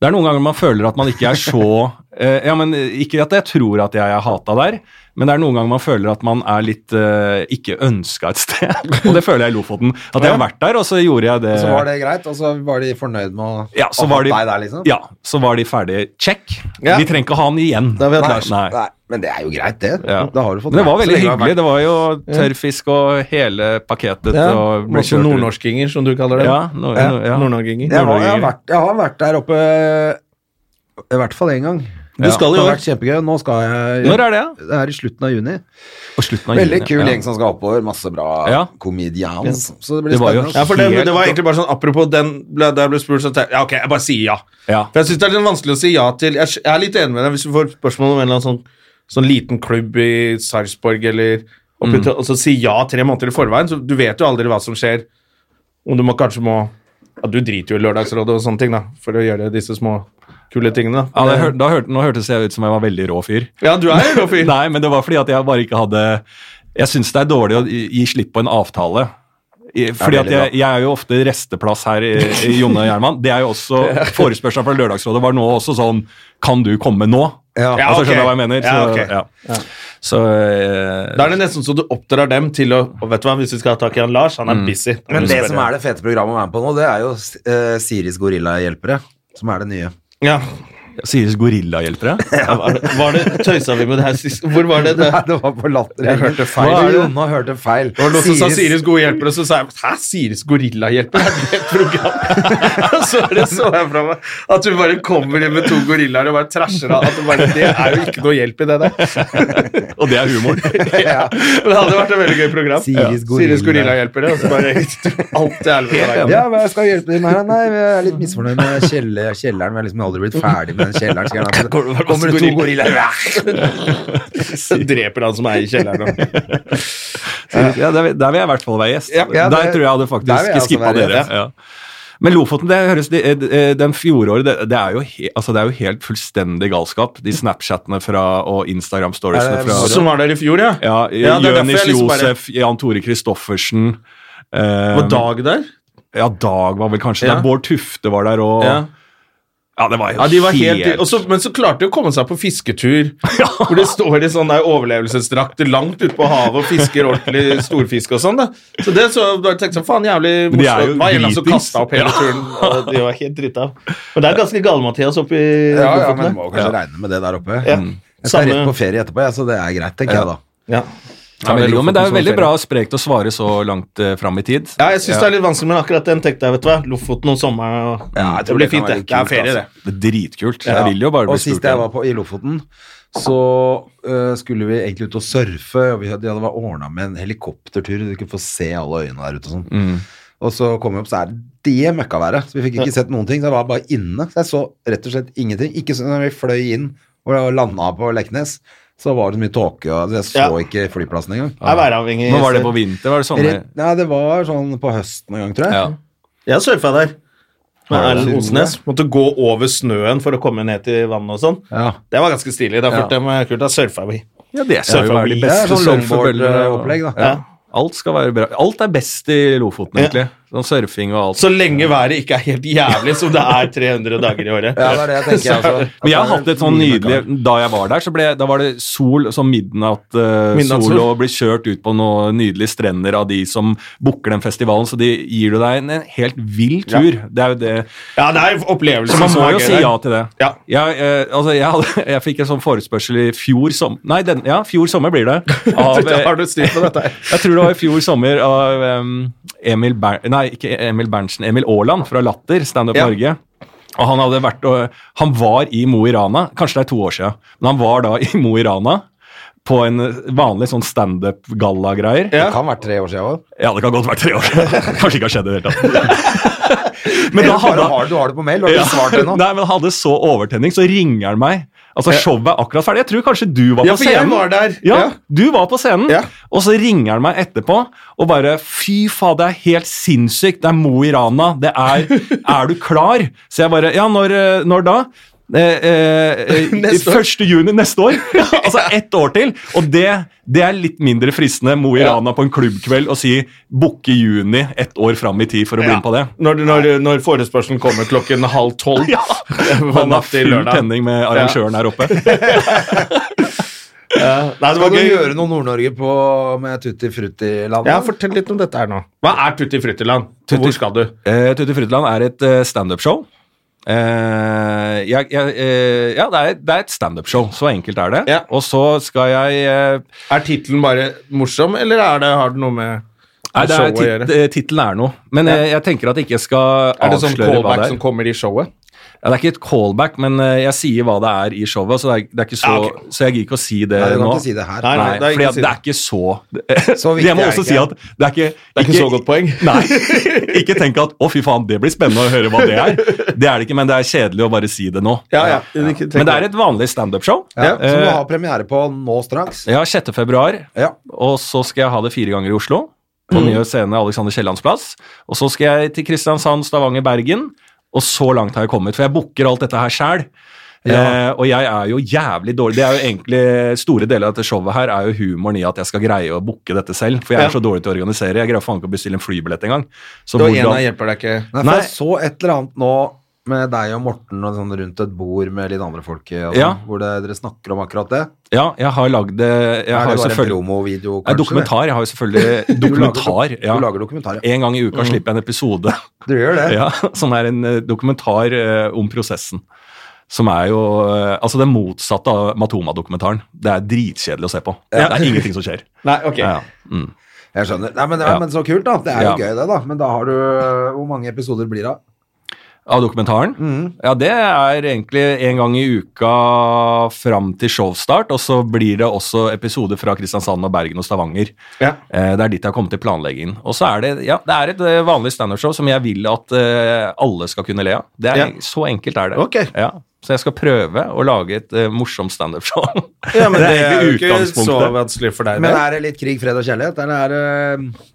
Det er noen ganger man føler at man ikke er så eh, ja, men Ikke at jeg tror at jeg er hata der, men det er noen ganger man føler at man er litt eh, ikke ønska et sted. Og det føler jeg i Lofoten. At jeg har vært der, og så gjorde jeg det.
Så var det greit, og så var de fornøyd med å
ja, så
å ha
var de,
deg der, liksom?
ja, så var de ferdige. Check.
Ja.
Vi trenger ikke ha han igjen.
Da har vi hatt
Nei,
Lars.
nei.
Nei, men det er jo greit, det.
Ja.
Da har du fått
Men det var
vært.
veldig
Så lenge har
hyggelig.
vært-
Det var jo tørrfisk og hele pakketet.
Ja.
Og ble
Også
kjørt rundt.
nordnorskinger, som du kaller det.
Ja, no,
Ja,
no, ja.
Nordnorskinger.
Jeg, var, jeg, har vært, jeg har vært der oppe i hvert fall én gang. Du
Ja,
skal
det
jo.
har
vært kjempegøy. Nå skal jeg
Når er det? da?
Det er i slutten av juni.
På slutten av
Veldig
juni,
kul
ja.
gjeng som skal oppover. Masse bra
Ja.
comedians. Så det blir
Det var jo-
spennende.
Ja, for det,
Helt
det var
opp.
egentlig bare sånn Apropos den ble, der jeg ble spurt, så tenkte jeg ja, ok, jeg bare sier ja.
Ja.
For jeg syns det er litt vanskelig å si ja til. Jeg, jeg er litt enig med deg hvis du får spørsmål om en eller annen sånn, sånn liten klubb i Sarpsborg eller oppe
Mm.
i Tø- Og så si ja tre måneder i forveien, så du vet jo aldri hva som skjer. Om du må kanskje må Ja, du driter jo i Lørdagsrådet og sånne ting, da, for å gjøre disse små kule tingene.
Ja, det, hør- da hørte, nå hørtes jeg ut som jeg var veldig rå fyr.
Ja, du er jo rå fyr.
Nei, men det var fordi at jeg bare ikke hadde Jeg syns det er dårlig å gi gi slipp på en avtale. I- Fordi at jeg, jeg er jo ofte resteplass her i, i Jonne Gjerman. Det er jo også Forespørselen fra Lørdagsrådet var nå også sånn Kan du komme nå?
Ja.
Ja,
altså, Skjønner du
ok.
hva jeg mener? Så,
Ja, ok.
ja. så eh,
Da er det nesten så du oppdrar dem til å og vet du hva, Hvis vi skal ha tak i han Lars, han
Mm.
er busy. Da må
Men
du
det
spørre.
som er det fete programmet å være med på nå, det er jo eh, Siris Gorillahjelpere, som er det nye.
ja.
Sies gorillahjelpere?
Ja, var det, var det tøysa vi med det her sist? Hvor var det det?
Nei, det var på latter.
Jeg hørte feil.
Nå er det Jonna hørte feil.
Det var noen som sa Siris gode hjelper, og så sa jeg Hæ, Siris gorillahjelper? Er det et program? Og så er det så jeg fra meg at du bare kommer inn med to gorillaer og bare trasher av. At du bare, det er jo ikke noe hjelp i det der.
Og det er humor.
Ja. Men det hadde vært et veldig gøy program.
Siris
Ja. Siris gorillahjelpere. Og så bare alt til helvete.
Ja, men jeg skal hjelpe deg med det. Nei, jeg er litt misfornøyd med kjelle, kjelleren. Vi har liksom aldri blitt ferdig med den kjelleren. Skal jeg gjerne-
Kommer det
Kommer det to
gorilla-
gorillaer?
Så dreper han som er i kjelleren.
Ja, der, vil- der vil jeg i hvert fall være gjest.
Ja,
ja,
der
det-
tror jeg hadde
der vil jeg
faktisk
også
skippa
være
dere.
gjest.
Ja. Men Lofoten, det høres, det, eh, den fjoråret, det, det, er jo he, altså det er jo helt fullstendig galskap. De Snapchatene fra, og Instagram-storiesene
Er det-
fra
Som var der i fjor, ja.
ja, eh,
Ja, det er derfor
Jonis
jeg liksom bare-
Josef, Jan Tore Kristoffersen
På
eh,
dag der?
Ja, Dag var vel kanskje
Ja.
der. Bård Tufte var der, og
Ja.
Ja, det var jo
Ja, de var helt, og så, Men så klarte de å komme seg på fisketur. Hvor det står i sånne der overlevelsesdrakter langt ute på havet og fisker ordentlig storfisk og sånn. da. Så det så da tenkte jeg, sånn, faen jævlig
Men de er jo
morsomt. Det var en eller annen som
dritings.
kasta opp hele turen. og De var helt drita. Men det er ganske gale, Mathias, oppi
Ja, ja,
Lofoten,
men du
da.
må kanskje regne med det der oppe. Mm.
Ja.
Jeg skal
Samme-
rett på ferie etterpå, jeg, så det er greit, tenker jeg da.
Ja.
ja, veldig godt, Men det er jo
Lofoten som
veldig bra sprekt å svare så langt eh, fram i tid.
Ja, jeg syns det er litt vanskelig, men akkurat den tenkte jeg, vet du hva. Lofoten om sommeren. og-
Ja, jeg tror
det blir
det kan
fint, det. Det er
være kult, altså.
ferie, det.
altså. Det er dritkult. Jeg vil jo bare bli
og sist
spurt
jeg
igjen.
var på, i Lofoten, så øh, skulle vi egentlig ut og surfe. Og vi hadde, det var ordna med en helikoptertur, du kunne få se alle øyene der ute og sånn.
Mm.
Og så kom vi opp, så er det det møkkaværet. Så vi fikk ikke sett noen ting. Så jeg var bare inne. Så jeg så rett og slett ingenting. Ikke sånn når vi fløy inn og landa på Leknes, så var det så mye tåke, og jeg så
Ja.
ikke flyplassen engang.
Jeg er væravhengig.
Men var det på vinter? Var det sommer?
Rett, nei, det var sånn på høsten en gang, tror jeg.
Ja.
Jeg surfa der. Med
Har du
Erlend
det?
Osnes. Måtte gå over snøen for å komme ned til vannet og sånn.
Ja.
Det var ganske stilig. Da, for det var eh, kult. da surfa vi.
Ja, det skal jo
Surfer
være de
vi.
Det er
beste
sånn longboard-opplegg, da.
Ja. Alt skal være bra. Alt er best i Lofoten, egentlig. Sånn surfing og alt.
Så lenge været ikke er helt jævlig, som det er 300 dager i året.
Ja, det er det jeg tenker. altså. jeg
altså.
også.
Men jeg har
At det
hatt
er
et sånn
mye
nydelig Da jeg var der, så ble, da var det sol, sånn midnatt, eh,
Midnattssol.
sol og blir kjørt ut på noen nydelige strender av de som booker den festivalen, så de gir du deg en, en helt vill tur. Det er jo det.
Ja, det er opplevelsen
Så man
som
må
er
jo
gøy
si
der.
ja til det.
Ja.
Jeg, eh, altså, jeg, hadde, jeg fikk en sånn forespørsel i fjor som... Nei, den, ja, fjor sommer blir det. Av,
Da
eh,
har du styr på dette her.
Jeg tror det var i fjor sommer av em, Emil Ber Nei, ikke Emil Berntsen. Emil Aaland fra Latter, Standup
Ja.
Norge. Og han hadde vært og Han var i Mo i Rana, kanskje det er to år siden, men han var da i Mo i Rana. På en vanlig sånn standup-galla-greier.
Ja.
Ja.
Det kan være tre år siden òg.
det kan godt være tre år siden. Kanskje ikke har skjedd i det hele tatt. Men da hadde han-
du har det på mail, du har ikke svart ennå.
Nei, men han hadde så overtenning, så ringer han meg. Altså, Showet er akkurat ferdig. Jeg tror kanskje du var
Ja,
på
for jeg
scenen.
var der.
Ja,
Ja.
Du var på scenen,
Ja.
og så ringer han meg etterpå og bare Fy faen, det er helt sinnssykt. Det er Mo i Rana. Det er Er du klar? Så jeg bare Ja, når, eh, når da? Eh, eh, eh,
Neste år.
1. juni neste år. altså ett år til. Og det, det er litt mindre fristende Mo i
Ja.
Rana på en klubbkveld å si booke juni ett år fram i tid for å bli med på det.
Når, når, når forespørselen kommer klokken halv tolv
Ja.
på
Han har
natt til
full
lørdag.
tenning med arrangøren her oppe.
Nei, det
Skal
var
du
gøy.
gjøre noe Nord-Norge på med Tutti Frutti-landet?
Ja, Fortell litt om dette her nå. Hva er Tutti Fruttiland? Hvor skal du?
Uh, Tutti Frutland er et eh, standup-show. Eh, jeg, jeg, eh, ja, det er, det er et standup-show. Så enkelt er det.
Ja.
Og så skal jeg eh,
Er tittelen bare morsom, eller er det, har det noe med
Nei, det er,
showet å gjøre?
tit, eh, tittelen er noe. Men eh, jeg tenker at jeg ikke skal
Er det sånn
avsløre hva
callback
det
som
er.
kommer i showet?
ja, Det er ikke et callback, men eh, jeg sier hva det er i showet, så, det er, det er ikke så,
Ja, ok.
så jeg gidder ikke å si det
Nei, du kan
nå.
ikke si det her.
Nei,
Nei, det er
fordi
ikke å
at
si det.
det er ikke så
Så viktig
Jeg må
er
også
det
si
ikke.
at det er ikke
Det er ikke så godt poeng.
Nei. Ikke tenk at 'å, fy faen, det blir spennende å høre hva det er'. Det er det ikke, men det er kjedelig å bare si det nå.
Ja, ja. Ikke tenk
Men det er et vanlig standup-show.
Ja,
Eh,
Som du har premiere på nå straks.
ja, 6. februar.
Ja.
Og så skal jeg ha det fire ganger i Oslo.
Mm.
På nye scene Alexander Kiellands plass. Og så skal jeg til Kristiansand, Stavanger, Bergen. Og så langt har jeg kommet, for jeg booker alt dette her sjæl. Eh, og jeg er jo jævlig dårlig Det er jo egentlig Store deler av dette showet her er jo humoren i at jeg skal greie å booke dette selv. For jeg er
Ja.
så dårlig til å organisere. Jeg greier faen ikke å bestille en flybillett engang. Så
Det var en
hvordan-
av hjelper deg ikke.
Nei, for
Nei.
jeg så et eller annet nå med deg og Morten og sånn rundt et bord med litt andre folk, og sånn,
Ja.
hvor det, dere snakker om akkurat det.
Ja, jeg har lagd det jeg
Er
har
det bare
jo
en
selvfølgelig-
promovideo,
Nei,
kanskje?
dokumentar. Jeg har jo selvfølgelig
Du lager dok-
dokumentar. ja.
Du lager dokumentar, ja. Mm.
En gang i uka slipper jeg en episode
Du gjør det.
ja, som er en eh, dokumentar eh, om prosessen. Som er jo eh, altså det motsatte av Matoma-dokumentaren. Det er dritkjedelig å se på. Det er ingenting som skjer.
Nei, ok.
Ja, ja. Mm.
Jeg skjønner. Nei, men, ja,
Ja.
men så kult, da. Det er jo
Ja.
gøy, det, da. Men da har du eh, Hvor mange episoder blir det?
Av dokumentaren?
Mm.
Ja, det er egentlig en gang i uka fram til showstart, og så blir det også episoder fra Kristiansand og Bergen og Stavanger.
Ja.
Eh, Det er dit jeg har kommet i planleggingen. Og så er det, ja, det er et eh, vanlig standup-show som jeg vil at eh, alle skal kunne le av. Det er,
Ja.
Så enkelt er det.
Ok.
Ja. Så jeg skal prøve å lage et eh, morsomt standup-show.
Ja, men det er jo
egentlig
ikke så vanskelig for deg.
Men
det.
er det litt krig, fred og kjærlighet? Eller er det eh,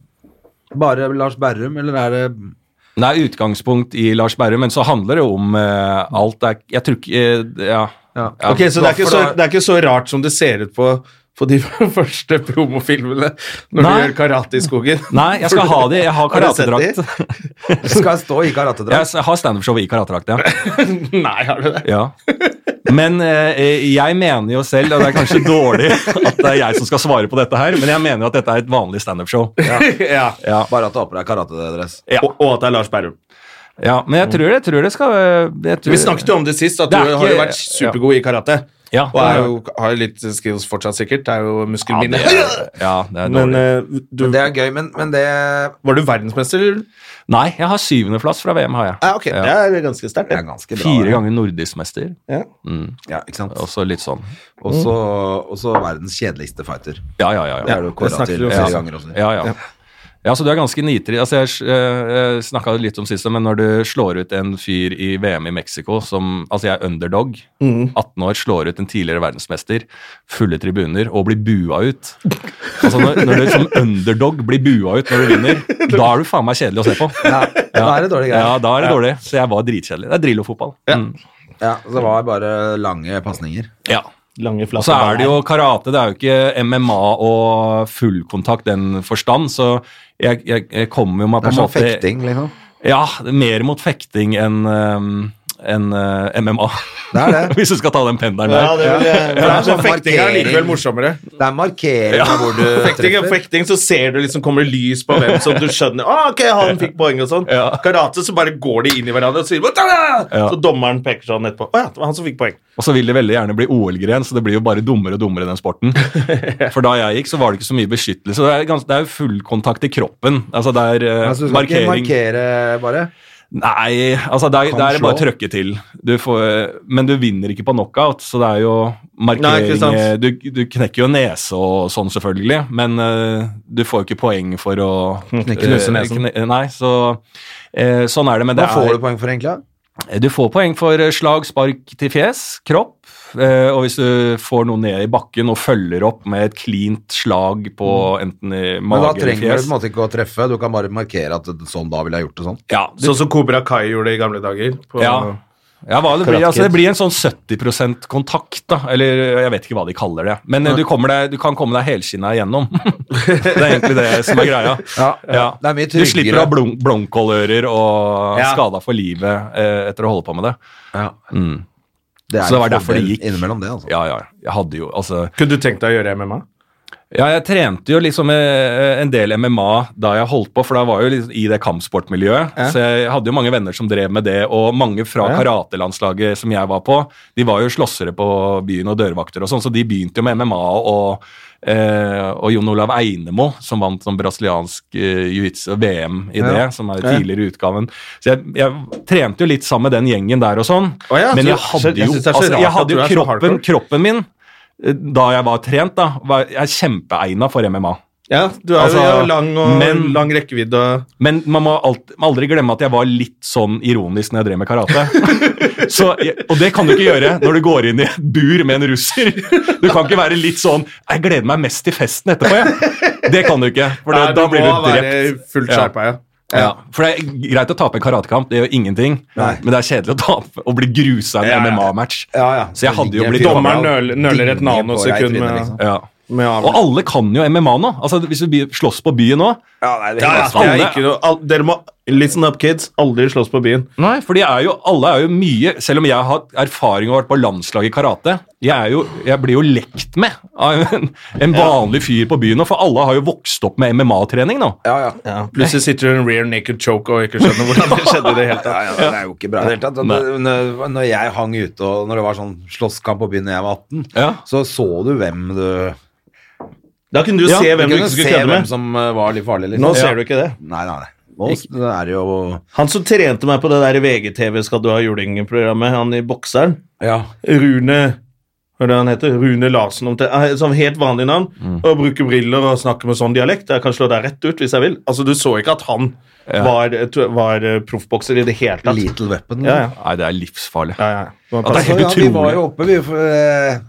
bare Lars Berrum, eller er det
Nei, utgangspunkt i Lars Berrum, men så handler det om eh, alt er Jeg tror ikke eh, ja.
Ja.
Ja.
Ok, Så det er, ikke så
Hvorfor da-
det er ikke så rart som det ser ut på, på de første promofilmene når
Nei.
du gjør karate i skogen.
Nei, jeg skal ha det. Jeg har
Har du sett
karatedrakt.
Skal jeg stå i karatedrakt?
Jeg har standup-show i karatedrakt, ja.
Nei, har du det?
Ja. Men eh, jeg mener jo selv, og det er kanskje dårlig at det er jeg som skal svare på dette her, men jeg mener jo at dette er et vanlig standup-show.
ja.
Ja.
Bare at du har på deg karatedress.
Ja.
Og, og at det er Lars Berrum.
ja, men jeg tror det, jeg tror det skal eh, jeg tror,
Vi snakket jo om det sist, at
Det
du
er
har jo
ikke-
vært supergod i karate.
ja,
Og er jo, har jo litt skills fortsatt, sikkert. Det er jo muskelminne.
Ja, det er dårlig.
Men eh, du,
Det er gøy, men, men det
var du verdensmester? eller?
Nei, jeg har syvendeplass fra VM, har jeg.
Ja, ok, Det er ganske sterkt.
det
det.
er ganske bra.
Fire
det.
ganger nordisk mester.
Ja.
Mm,
Ja, ikke sant?
også litt sånn.
Og så og så verdens kjedeligste fighter.
Ja, ja, ja.
Det
ja.
er du
det
kåra
snakker
til
vi om
flere
sist.
ganger også.
Ja, ja. Ja, så du er ganske nitrig. Altså, jeg uh, snakka litt om sist, men når du slår ut en fyr i VM i Mexico som Altså, jeg er underdog. 18 år, slår ut en tidligere verdensmester. Fulle tribuner og blir bua ut. Altså, når, når du som underdog blir bua ut når du vinner, da er du faen meg kjedelig å se på.
Ja, da er det dårlige
Ja,
greier.
da er det dårlig. Så jeg var dritkjedelig. Det er Drillo-fotball. Mm.
Ja, så det var bare lange pasninger.
Ja.
Lange,
Og
flate
så er det
baller.
jo karate, det er jo ikke MMA og fullkontakt den forstand, så jeg, jeg, jeg kommer jo meg
Det
på
er
en
sånn
måte
fekting, liksom.
Ja, mer mot fekting enn ehm, enn, eh, MMA.
Det er det.
Hvis du skal ta den pendelen
Ja, det
der.
vil jeg. For det er
sånn
sånn fekting er
markering.
likevel morsommere.
Det er markering av hvor du
Fekting er
treffer.
fekting, så ser du liksom kommer det lys på hvem som du skjønner ah, ok, han fikk poeng og sånn.
Ja.
Karate, så bare går de inn i hverandre og sier «Watara!»
Ja.
Så dommeren peker sånn etterpå. Å ja, det var han som fikk poeng.
Og så vil det veldig gjerne bli OL-gren, så det blir jo bare dummere og dummere den sporten. For da jeg gikk, så var det ikke så mye beskyttelse. Det er, gans- det er jo fullkontakt i kroppen. Altså det er eh,
Altså, du skal ikke
markering
markere, bare.
Nei, altså det er,
Kan
det er bare å
slå.
trøkke til. Du får, men du vinner ikke på knockout, så det er jo
Nei, ikke
markering
sant.
du, du knekker jo nese og sånn, selvfølgelig, men eh, du får jo ikke poeng for å
knuse nesen.
Eh, kne- nei, så eh, sånn er det. Men det
Hva får
er,
du poeng for, egentlig?
du får poeng for eh, slag, spark til fjes, kropp. eh, og hvis du får noe ned i bakken og følger opp med et cleant slag på enten i
Mm. Men da
mage eller
trenger du på
fjes
en måte ikke å treffe, du kan bare markere at sånn da ville jeg gjort det sånn.
ja, du,
Sånn som Kobra Kai gjorde i gamle dager. På,
Ja. Ja, hva det, blir, altså, det blir en sånn 70 kontakt, da. Eller jeg vet ikke hva de kaller det. Men eh, du, kommer deg, du kan komme deg helskinna igjennom. det er egentlig det som er greia.
Ja, det er mye
Du slipper å
tryggere.
ha blunk blomkålører og
Ja.
skada for livet eh, etter å holde på med det.
Det er
Så det var
en
derfor det
fordel
gikk.
Innimellom det, altså.
Ja, ja. Jeg hadde jo Altså,
Kunne du tenkt deg å gjøre MMA?
Ja, jeg trente jo liksom eh, en del MMA da jeg holdt på, for da var jeg jo liksom i det kampsportmiljøet.
Ja.
Så jeg hadde jo mange venner som drev med det, og mange fra
Ja.
karatelandslaget som jeg var på, de var jo slåssere på byen og dørvakter og sånn, så de begynte jo med MMA og eh, og Jon Olav Einemo, som vant sånn brasiliansk eh, jiu-jitsu VM i det,
Ja.
som er tidligere utgaven. Så jeg, jeg trente jo litt sammen med den gjengen der og sånn,
Å ja,
men
så-
jeg hadde
jeg
jo,
synes det er så
altså,
rart
jeg
at
hadde
du
jo
er så
kroppen,
hardcore.
kroppen min Eh, da jeg var trent, da, var jeg kjempeegna for MMA.
Ja, du er
Altså,
jo lang og
men-
lang rekkevidde og
Men man må alt, må aldri glemme at jeg var litt sånn ironisk når jeg drev med karate. Så, jeg- og det kan du ikke gjøre når du går inn i et bur med en russer. Du kan ikke være litt sånn 'Jeg gleder meg mest til festen etterpå', jeg. Det kan du ikke, for
Nei,
det, da blir
må
du
være
drept.
Fullt
Ja.
skjerpa, ja.
Ja, for det er greit å tape en karatekamp, det gjør ingenting, men det er kjedelig å tape og bli grusa i
Ja,
en
ja.
MMA-match.
Ja, ja.
Så jeg hadde jo
Ligger
blitt-
fyren
Dommeren
og
nøl- nøler et
dinger på
nanosekund
deg i trynet,
med-
liksom.
Ja.
Med avl-
Og alle kan jo MMA nå. Altså, hvis du blir- slåss på byen nå
Ja, nei, det er
Ja, sånn,
helt
ja,
sant.
det er
Alle-
ikke noe, al- dere må Listen up, kids. Aldri slåss på byen.
Nei, for de er jo, alle er jo mye Selv om jeg har hatt erfaring og vært på landslaget i karate, jeg, er jo, jeg blir jo lekt med av en, en vanlig fyr på byen nå, for alle har jo vokst opp med MMA-trening nå.
Ja, ja.
Plutselig sitter du i en rear naked choke og ikke skjønner hvordan det skjedde. i det hele tatt.
Ja, ja, det er jo ikke bra i det hele tatt. Når- Når, når jeg hang ute, og når det var sånn slåsskamp på byen da jeg var 18,
Ja.
så så du hvem du
Da kunne du
Ja,
se hvem
Du
du
kunne
ikke skulle
se
kødde
hvem
med.
som eh, var litt farlig, liksom.
Nå
Ja.
ser du ikke det.
Nei, nei, nei. Nå s- det er det jo
Han som trente meg på det der VGTV Skal du ha juling-programmet, han i bokseren
Ja.
Rune Hva er det han heter? Rune Larsen. Om som helt vanlig navn. Og bruker briller og snakker med sånn dialekt. Jeg kan slå deg rett ut hvis jeg vil. Altså, Du så ikke at han var, var eh, proffbokser i det hele tatt.
Little Weapon. Altså,
Ja, ja.
Nei, det er livsfarlig.
ja, ja. Det var
Ja, det er
pass-
helt
ja, vi var
utrolig.
jo oppe, vi. For, eh,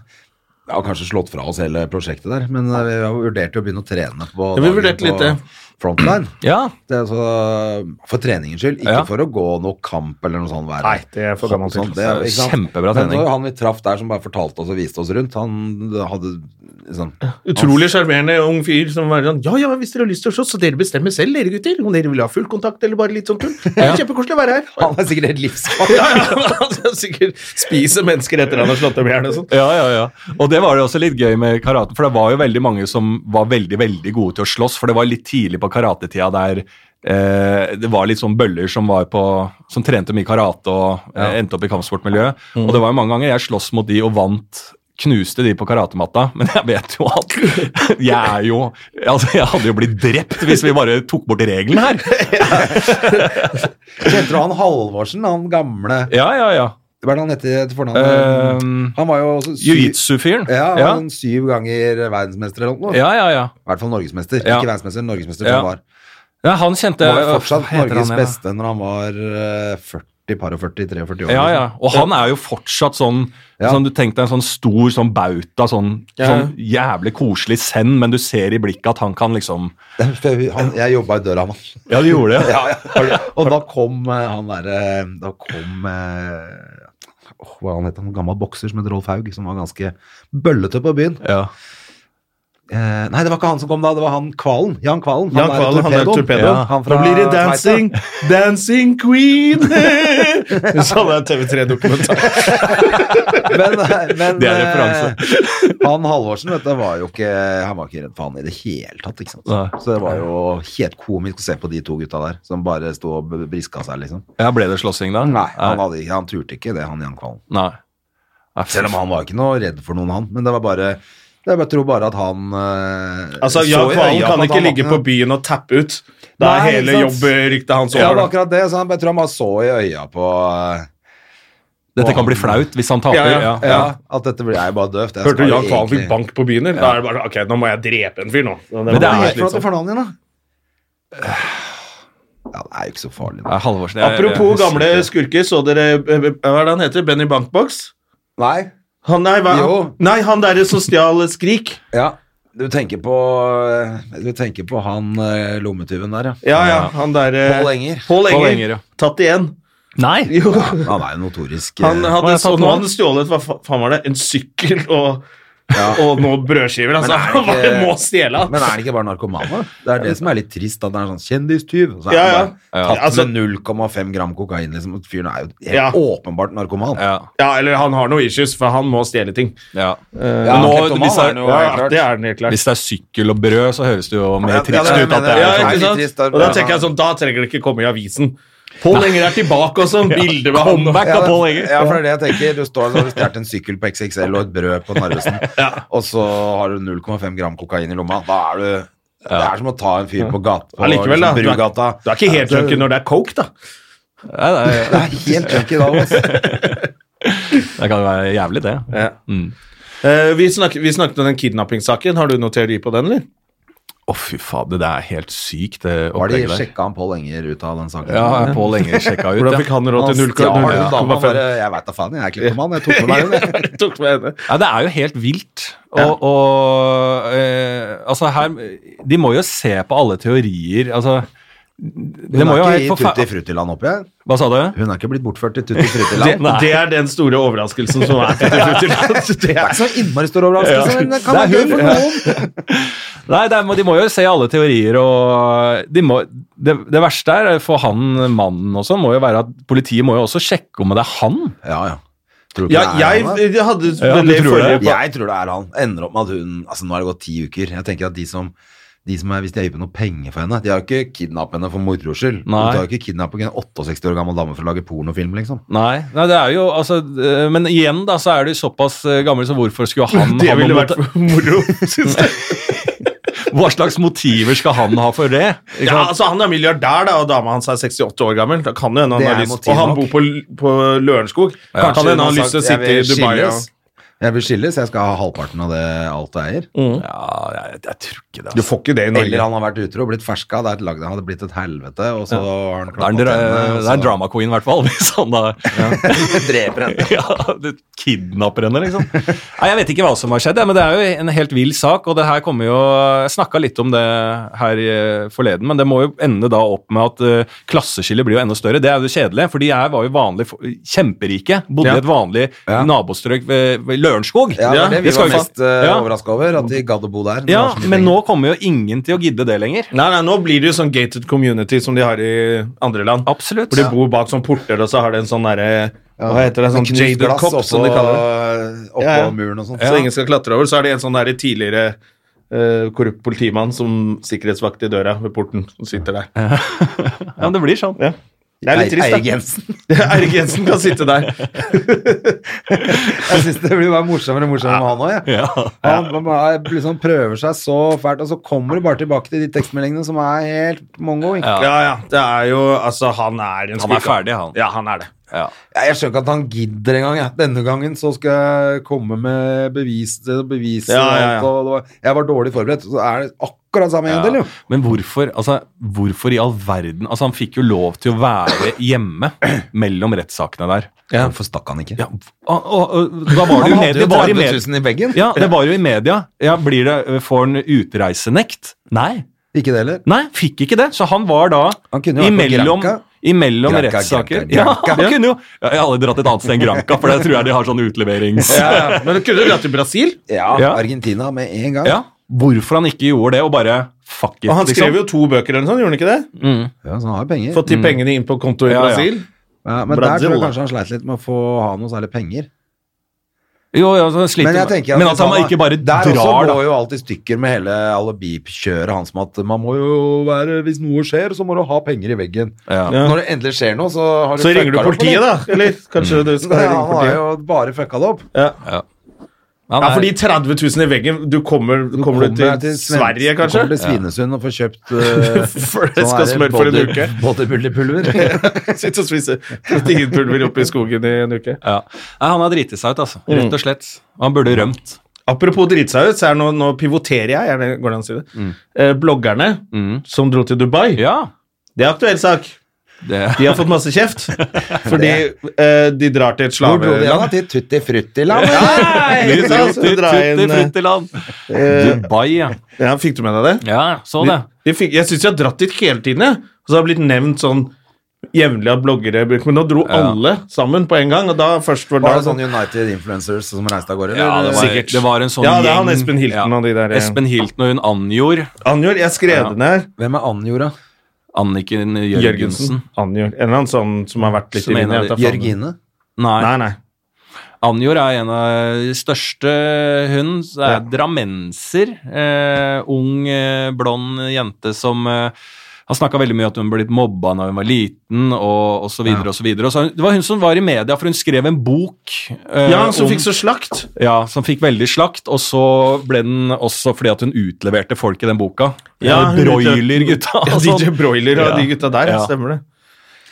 vi har kanskje slått fra oss hele prosjektet der, men eh, vi har vurdert å begynne å trene på
Ja, vi
dagen
vurderte
på
litt det.
Frontline.
Ja,
Det er altså for treningens skyld, ikke
Ja.
for å gå noe kamp eller noe sånt. Være.
Nei, det er for gammelt til.
Sånn, det er-
Det er
ikke sant? Men
kjempebra trening.
det var han vi traff der som bare fortalte oss og viste oss rundt, han hadde liksom
Utrolig sjarmerende ung fyr som var sånn Ja, ja, hvis dere har lyst til å slåss, så dere bestemmer selv, dere gutter. Om dere vil ha full kontakt eller bare litt sånn tull. Det er kjempekoselig å være her.
Han er sikkert helt livsfarlig.
Ja, ja, altså, sikkert spiser mennesker etter han har slått dem i hjel og sånn.
ja, ja, ja. Og det var det også litt gøy med karate, for det var jo veldig mange som var veldig, veldig gode til å slåss, for det var litt tidlig på karatetida der eh, det var litt sånn bøller som var på som trente mye karate og eh, endte opp i kampsportmiljøet. Og det var jo mange ganger jeg sloss mot de og vant knuste de på karatematta, men jeg vet jo at jeg er jo altså Jeg hadde jo blitt drept hvis vi bare tok bort regelen her.
Kjente du han Halvorsen, han gamle
Ja, ja, ja.
Hva er det han heter til fornavn? eh,
Ehm,
han var jo også sy-
Jiu-jitsu-fyren.
Ja, han
ja.
var en syv ganger verdensmester eller noe.
ja, ja, ja.
I hvert fall norgesmester.
Ja.
Ikke verdensmester, norgesmester.
Ja.
Ja. Var.
Ja, han kjente
var jo fortsatt
Hva heter han
Norges
igjen, da?
beste når han var eh, 40, par og 40, 43 år.
Ja, ja.
liksom.
Og han er jo fortsatt sånn,
Ja.
sånn Du tenkte en sånn stor sånn bauta, sånn,
Ja.
sånn jævlig koselig send, men du ser i blikket at han kan liksom
Det er fordi Han, jeg jobba i døra hans.
Ja, du gjorde det.
Og da kom eh, han derre Da kom eh, åh, hva han het han? En gammel bokser som het Rolf Haug, som var ganske bøllete på byen.
Ja.
Eh, nei, det var ikke han som kom da, det var han Kvalen. Jan Kvalen.
Jan Kvalen, han er torpedo.
Ja, han fra
Nå blir det
Tveita.
dancing, dancing queen! Sånn er TV3-dokumentar.
Men, eh, men
Det er
eh,
referanse.
han Halvorsen vet du, var jo ikke Han var ikke redd for han i det hele tatt. Ikke sant?
Nei.
Så det var jo helt komisk å se på de to gutta der, som bare sto og b- briska seg, liksom.
ja. Ble det slåssing da?
Nei, han, hadde, ikke- han turte ikke det, han Jan Kvalen.
Nei. Nei, fy
Selv om han var ikke noe redd for noen, han. Men det var bare jeg bare tror bare at han eh,
Altså,
så
Jan
i
Kvalen
øya
kan
at
ikke
han
ligge
var-
på byen og tappe ut. Da
Nei,
er hele
ikke sant?
jobbryktet hans
Ja, det
over.
var akkurat det. Så han, jeg tror han bare så i øya på eh,
Dette kan bli flaut hvis han taper.
Ja, ja.
Ja,
ja, at dette blir jeg er bare døvt. Jeg
Hørte
skal
du Jan Kvalen
egentlig-
fikk bank på byen? eller? Da er det bare Ok, nå må jeg drepe en fyr nå. Det
Men det
var
er
Hva
helt
er det for noe
slitsomt.
til fornavnet ditt, da? Ja, det er jo ikke så farlig.
Ja, Halvorsen. jeg-
Apropos
jeg- jeg-
gamle skurker, så dere eh, Hva er det han heter? Benny Bankbox?
Nei.
Han, nei, hva,
Jo.
nei, han derre som stjal Skrik.
Ja. Du tenker på Du tenker på han eh, lommetyven der, ja.
Ja, ja, han derre
Pål Enger.
Pål Enger.
Pål Enger, ja.
Tatt igjen.
Nei!
Jo.
Han er jo notorisk eh,
Han hadde,
jeg tatt
så,
nå?
nå hadde han stjålet hva fa- faen var det, en sykkel og og noen brødskiver. Altså,
Men er
hva
det ikke-
det må stjele?
Men er det ikke bare narkomane? Det er det som er litt trist, at det er sånn kjendistyv. og Så er
Ja,
det
ja.
bare
Ja.
tatt
Altså-
med 0,5 gram kokain, liksom. og Fyren er jo helt
Ja.
åpenbart narkoman.
Ja.
Ja, eller han har noe issues, for han må stjele ting.
ja.
Ja,
nå-
kleptoman
disse-
er han jo,
Ja,
helt klart.
det er den helt klart.
Hvis det er sykkel og brød, så høres det jo mer
Ja,
trist
det er det jeg
ut. at
mener.
det
Ja,
er liksom
litt
ikke sant?
trist, da.
Og da tenker jeg sånn, da trenger det ikke komme i avisen. Pål Enger er tilbake også, bilder med han.
Comeback
Ja,
av Pål
det-
Enger!
ja, for det er det jeg tenker. Du står der og har stjålet en sykkel på XXL og et brød på Narvesen, og så har du 0,5 gram kokain i lomma. Da er du Det er som å ta en fyr på gata. på
Allikevel, da.
liksom
Du er,
Brugata.
du er ikke helt junkie når det er coke, da.
Ja, det, er,
Det er helt junkie da, altså.
det kan jo være jævlig, det. Mm.
Eh, vi, snakket, vi snakket om den kidnappingssaken. Har du noe teori på den, eller?
Å, fy fader, det er helt sykt, det
Var de
opplegget der.
sjekka han Pål Enger ut av den saken?
Ja, Pål Enger sjekka ut,
Hvordan fikk han råd til
Han stjal en dame, han
0,5?
bare, Jeg veit da faen, jeg er kleptoman. Jeg tok med meg den.
Jeg tok med henne.
Ja, det er jo helt vilt. Og, og eh, altså her De må jo se på alle teorier. Altså
Hun
det
er
må jo
ikke
være
i
helt
Tutti
forferdelig
Fruttiland oppi her.
Hva sa du?
Hun er ikke blitt bortført til Tutti
Det,
Fruttiland.
Nei.
det er den store overraskelsen som er til slutt. Det
Det er
er-
ikke så innmari stor overraskelse, men det kan være gøy for noen.
Nei, det er, de må jo se alle teorier, og de må, det, det verste er for han mannen også, må jo være at politiet må jo også sjekke om det er han.
Ja, ja. Tror du
Ja,
ikke det er
jeg,
han, da?
jeg hadde
Ja, du
veldig
tror
forrige
det?
på-
Jeg tror det er han. Ender opp med at hun Altså, nå har det gått ti uker. Jeg tenker at de som de som er, Hvis de har gitt noe penger for henne De har jo ikke kidnappet henne for moro skyld. Du
Nei.
tar jo ikke kidnapping av en 68 år gammel dame for å lage pornofilm, liksom.
Nei, nei, det er jo altså eh, Men igjen, da, så er de såpass eh, gamle, så hvorfor skulle han
Det
ha noe
ville
mot-
vært moro, synes jeg.
Hva slags motiver skal han ha for det? Ikke
Ja,
sant?
altså Han er milliardær, da, og dama hans er 68 år gammel. Da kan det hende han
Det
har
er
lyst
motiv
Og han
nok.
bor på, på Lørenskog. Kan det hende han har lyst til å
Jeg
sitte i
vil
Dubai. og-
skilles. Jeg vil skilles, jeg skal ha halvparten av det alt jeg eier.
ja jeg, jeg tror ikke
Du
det. Altså.
får ikke det i
Eller
Norge.
han har vært utro og blitt ferska. Det er et lag det hadde blitt et helvete, og så har han
Det er en,
klappet
dra-
tennene, og
det er en
så-
drama queen, i hvert fall. Hvis han da
Dreper henne.
ja, du kidnapper henne, liksom. Nei, Jeg vet ikke hva som har skjedd, ja, men det er jo en helt vill sak. Og det her kommer jo Jeg snakka litt om det her eh, forleden, men det må jo ende da opp med at eh, klasseskillet blir jo enda større. Det er jo det kjedelige, for de her var jo vanlig fo- kjemperike. Bodde
Ja.
i et vanlig
Ja.
nabostrøk ved, ved Lørenskog.
Ja, det var det vi
skal
var
jo
mest
fa-
uh,
ja.
overraska over, at de gadd å bo der. Det
Ja,
var så mye
men
penger.
nå kommer jo ingen til å gidde det lenger.
Nei, nei, Nå blir det jo sånn gated community som de har i andre land.
Absolutt.
Hvor de bor bak sånn porter, og så har de en sånn derre Hva heter det? Sånn
Med knust
jaded
glass
cop, som de
oppå-
kaller det.
Oppå
Ja, ja.
muren og sånn.
Så ingen skal klatre over. Så er det en sånn derre tidligere eh, korrupt politimann som sikkerhetsvakt i døra ved porten, som sitter der.
Ja, men det blir sånn.
Ja. Det er litt
Eir- Eirik
trist,
Jensen.
da. Eirik Jensen kan sitte der.
Jeg syns det blir bare morsommere og morsommere med han òg, jeg.
Ja.
Han bare liksom prøver seg så fælt, og så kommer du bare tilbake til de tekstmeldingene som er helt mongo. ikke?
Ja.
Ja, ja. Det er jo Altså, han er en
Han er
spika.
ferdig, han.
Ja, han er det.
Ja.
Jeg skjønner ikke at han gidder engang. jeg. Denne gangen så skal jeg komme med bevis bevis
Ja, ja, ja.
og alt. Og det var, jeg var dårlig forberedt. Så er det akkurat samme gang, eller?
Ja. Men hvorfor, altså, hvorfor i all verden Altså, han fikk jo lov til å være hjemme mellom rettssakene der.
Hvorfor stakk han ikke?
Ja, og, og, og, da var det jo
Han
med-
hadde jo
det var i
30
med-
000 i veggen.
Ja, det var jo i media. Ja, blir det, eh, Får han utreisenekt? Nei.
Ikke det heller.
Nei, fikk ikke det. Så han var da
Han kunne jo vært på
imellom,
Granca.
imellom
Granca,
rettssaker.
Granca,
Ja,
Granca.
han kunne jo ja, Jeg hadde dratt et annet sted enn Granca, for der tror jeg de har sånn utleverings...
Ja, ja. Men du kunne jo dratt til Brasil.
Ja,
Ja.
Argentina med en gang.
Ja, Hvorfor han ikke gjorde det, og bare fuck it, liksom?
Og han skrev jo to bøker, eller noe sånt, gjorde han ikke det?
Ja, så han har jo penger.
Fått de pengene inn på konto i
Mm. Ja, ja.
Brasil.
Ja, men der
Brazil,
tror jeg
da.
kanskje han sleit litt med å få ha noe særlig penger.
Jo, ja, så han sliter,
Men jeg tenker at
men
hvis
at han ikke bare
Der
drar,
også
da.
går jo alt i stykker med hele alibikjøret hans med at man må jo være Hvis noe skjer, så må du ha penger i veggen.
Ja.
Når det endelig skjer noe, så har du
Så ringer du
fucka det opp,
politiet, da. Eller Mm. kanskje du skal
Ja,
ringe
han har
politiet.
jo bare fucka det opp.
Han
Ja,
er-
fordi 30 000 i veggen Du kommer, kommer du til
Sven-
Sverige,
du
kanskje?
Kommer til Svinesund og får kjøpt eh,
For det
sånn
skal
her
smøre for en
body-
uke.
Bodybuilderpulver.
Sitte og spise proteinpulver oppe i skogen i en uke.
Ja. Nei, han har driti seg ut, altså.
Mm.
Rett og slett. Han burde rømt.
Apropos drite seg ut, så er det nå, nå pivoterer jeg, er det, går det an å si det? Eh, bloggerne som dro til Dubai,
Ja.
det er aktuell sak.
Det,
De har fått masse kjeft fordi eh, de drar til et
Hvor dro de igjen, da?
slaveland.
Til Tutti Frutti-land?
Nei, ikke sant? Så drar jeg inn, eh,
Fruttiland. Dubai, ja.
Ja, fikk du med deg det?
Ja, så det.
De fikk, jeg syns de har dratt dit hele tiden, jeg. Og så har det blitt nevnt sånn jevnlig at bloggere bruker Men nå dro
Ja.
alle sammen på en gang, og da først var
Var det
da-
sånn United Influencers som reiste av gårde?
Ja,
eller?
det var,
Sikkert.
det var en sånn
Ja, det er
gjeng-
han Espen Hilton og de der, ja.
Espen Hilton og hun Anjor.
Anjor, jeg skrev
Ja.
det ned.
Hvem er Anjora?
Anniken Jørgensen.
Jørgensen. Anjor. En eller annen sånn som har vært litt
Som
i
en av
vinden.
de-
jeg vet da faen.
Jørgine?
Nei.
Nei, nei.
Anjor er en av de største hun. Så er
Ja.
Drammenser. Eh, ung, eh, blond jente som eh, har snakka veldig mye om at hun ble litt mobba da hun var liten, og, og så videre og så videre. Og så, har hun- det var hun som var i media, for hun skrev en bok eh,
Ja, som
om-
fikk så slakt.
ja, som fikk veldig slakt, og så ble den også fordi at hun utleverte folk i den boka.
Ja, hun
Broiler, gutta.
Ja,
og
DJ
sånn.
Broiler og
Ja.
de gutta der, ja.
Ja.
stemmer det.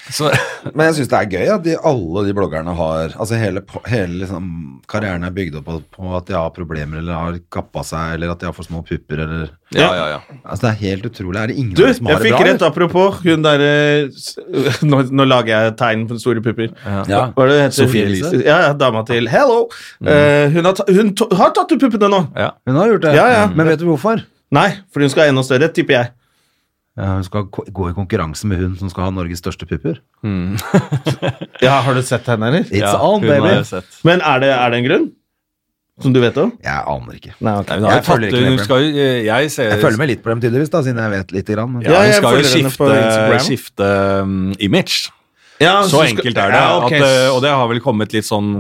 Så,
Men jeg syns det er gøy at de, alle de bloggerne har Altså hele, po- hele liksom, karrieren er bygd opp på, på at de har problemer, eller har kappa seg, eller at de har for små pupper, eller
ja, ja, ja.
Altså Det er helt utrolig. Er det ingen
Du,
av dem som
jeg
har det
fikk
bra?
rett apropos hun derre nå, nå lager jeg tegn på store pupper.
Ja.
Hva er det hun heter?
Sophie Elise?
Ja, ja, dama til Hello.
Mm.
Eh, hun har, ta, hun to, har tatt ut puppene nå.
Hun har gjort det. Mm.
Ja, ja.
Men vet du hvorfor?
Nei, for hun skal ha enda større, tipper jeg.
Ja, hun skal ko- gå i konkurranse med hun som skal ha Norges største pupper.
Ja, Har du sett henne, eller?
It's
ja,
on,
hun har
baby!
jeg sett.
Men er det, er det en grunn? Som du vet om?
Jeg aner ikke.
Nei, ok.
Nei, hun har
Jeg
jo tatt
følger ikke med
hun
på det.
skal jo eh, jeg ser,
Jeg følger med litt på dem, tydeligvis, da, siden jeg vet lite grann. Men
Eh,
Ja,
Ja, jeg
hun skal jo
følger henne på
skifte,
Instagram.
skifte um, image.
Ja,
Så
skal-
enkelt er det.
Ja, ok.
At, eh, og det har vel kommet litt sånn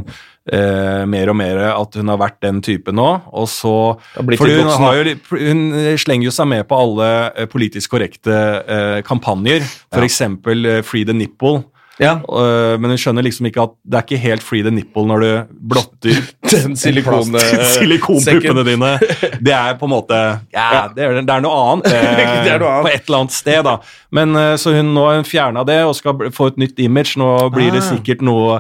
eh, mer og mer at hun har vært den typen nå. Og så,
Har blitt
fordi
litt
hun,
voksen,
har jo, litt- hun slenger jo seg med på alle eh, politisk korrekte eh, kampanjer, f.eks. Eh, Free the Nipple.
Ja.
Eh, men hun skjønner liksom ikke at det er ikke helt free the nipple når du blotter
Den silikone-
silikonpuppene
sekken.
dine. Det er på en måte ja, det, er, det er noe annet eh,
Det er noe annet.
på et eller annet sted, da. Men eh, så hun nå har hun fjerna det og skal bli- få et nytt image. Nå blir det
Ah.
sikkert noe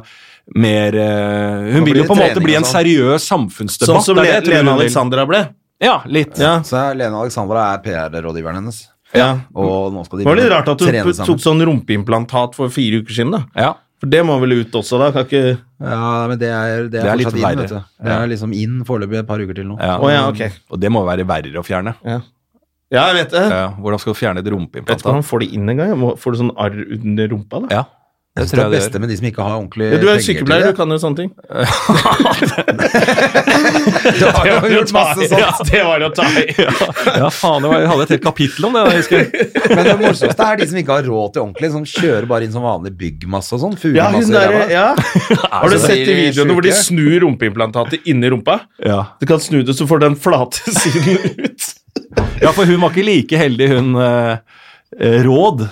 mer eh, Hun
Nå
vil
blir
jo på en
det
måte bli
trening og
en
sånn.
seriøs samfunnsdebatt.
Sånn som
det
Le
er det jeg tror
Lene
hun vil.
Alexandra ble.
Ja, litt.
Ja.
Så er Lene Alexandra er PR-rådgiveren hennes.
Ja.
Og nå skal de
Det var litt rart at hun
trene
tok- tok
sammen.
sånn rumpeimplantat for fire uker siden, da.
Ja.
For det må vel ut også, da? Kan ikke
Ja, men det er, det er,
Det er litt
fortsatt inn,
verre.
vet du. Det er liksom inn foreløpig et par uker til nå.
Ja.
Å ja, ok.
Og det må jo være verre å fjerne.
Ja, jeg vet det.
Ja, hvordan skal du fjerne et
Vet ikke om
rumpeimplantat?
han får det inn engang. jeg må- Får du sånn arr under rumpa, da?
Ja, det
Jeg tror det
tror jeg det
er
gjør.
beste med de som ikke har ordentlig
Ja, du er jo
penger til
sykepleier, du
det.
kan jo sånne ting.
Du har jo gjort masse sånt.
Ja, det var å ta i.
Ja, faen, det var, jeg hadde et helt kapittel om det. da, husker jeg.
Men det morsomste er de som ikke har råd til ordentlig, som kjører bare inn som vanlig byggmasse og sånn.
Ja, hun
Fugemasse. i
der,
ræva.
ja. Har du
så
sett de
blir Altså, de
videoene hvor de
syke?
snur rumpeimplantatet inni rumpa?
Ja.
Du kan snu det, så får du den flate siden ut.
ja, for hun var ikke like heldig, hun eh, eh, Råd.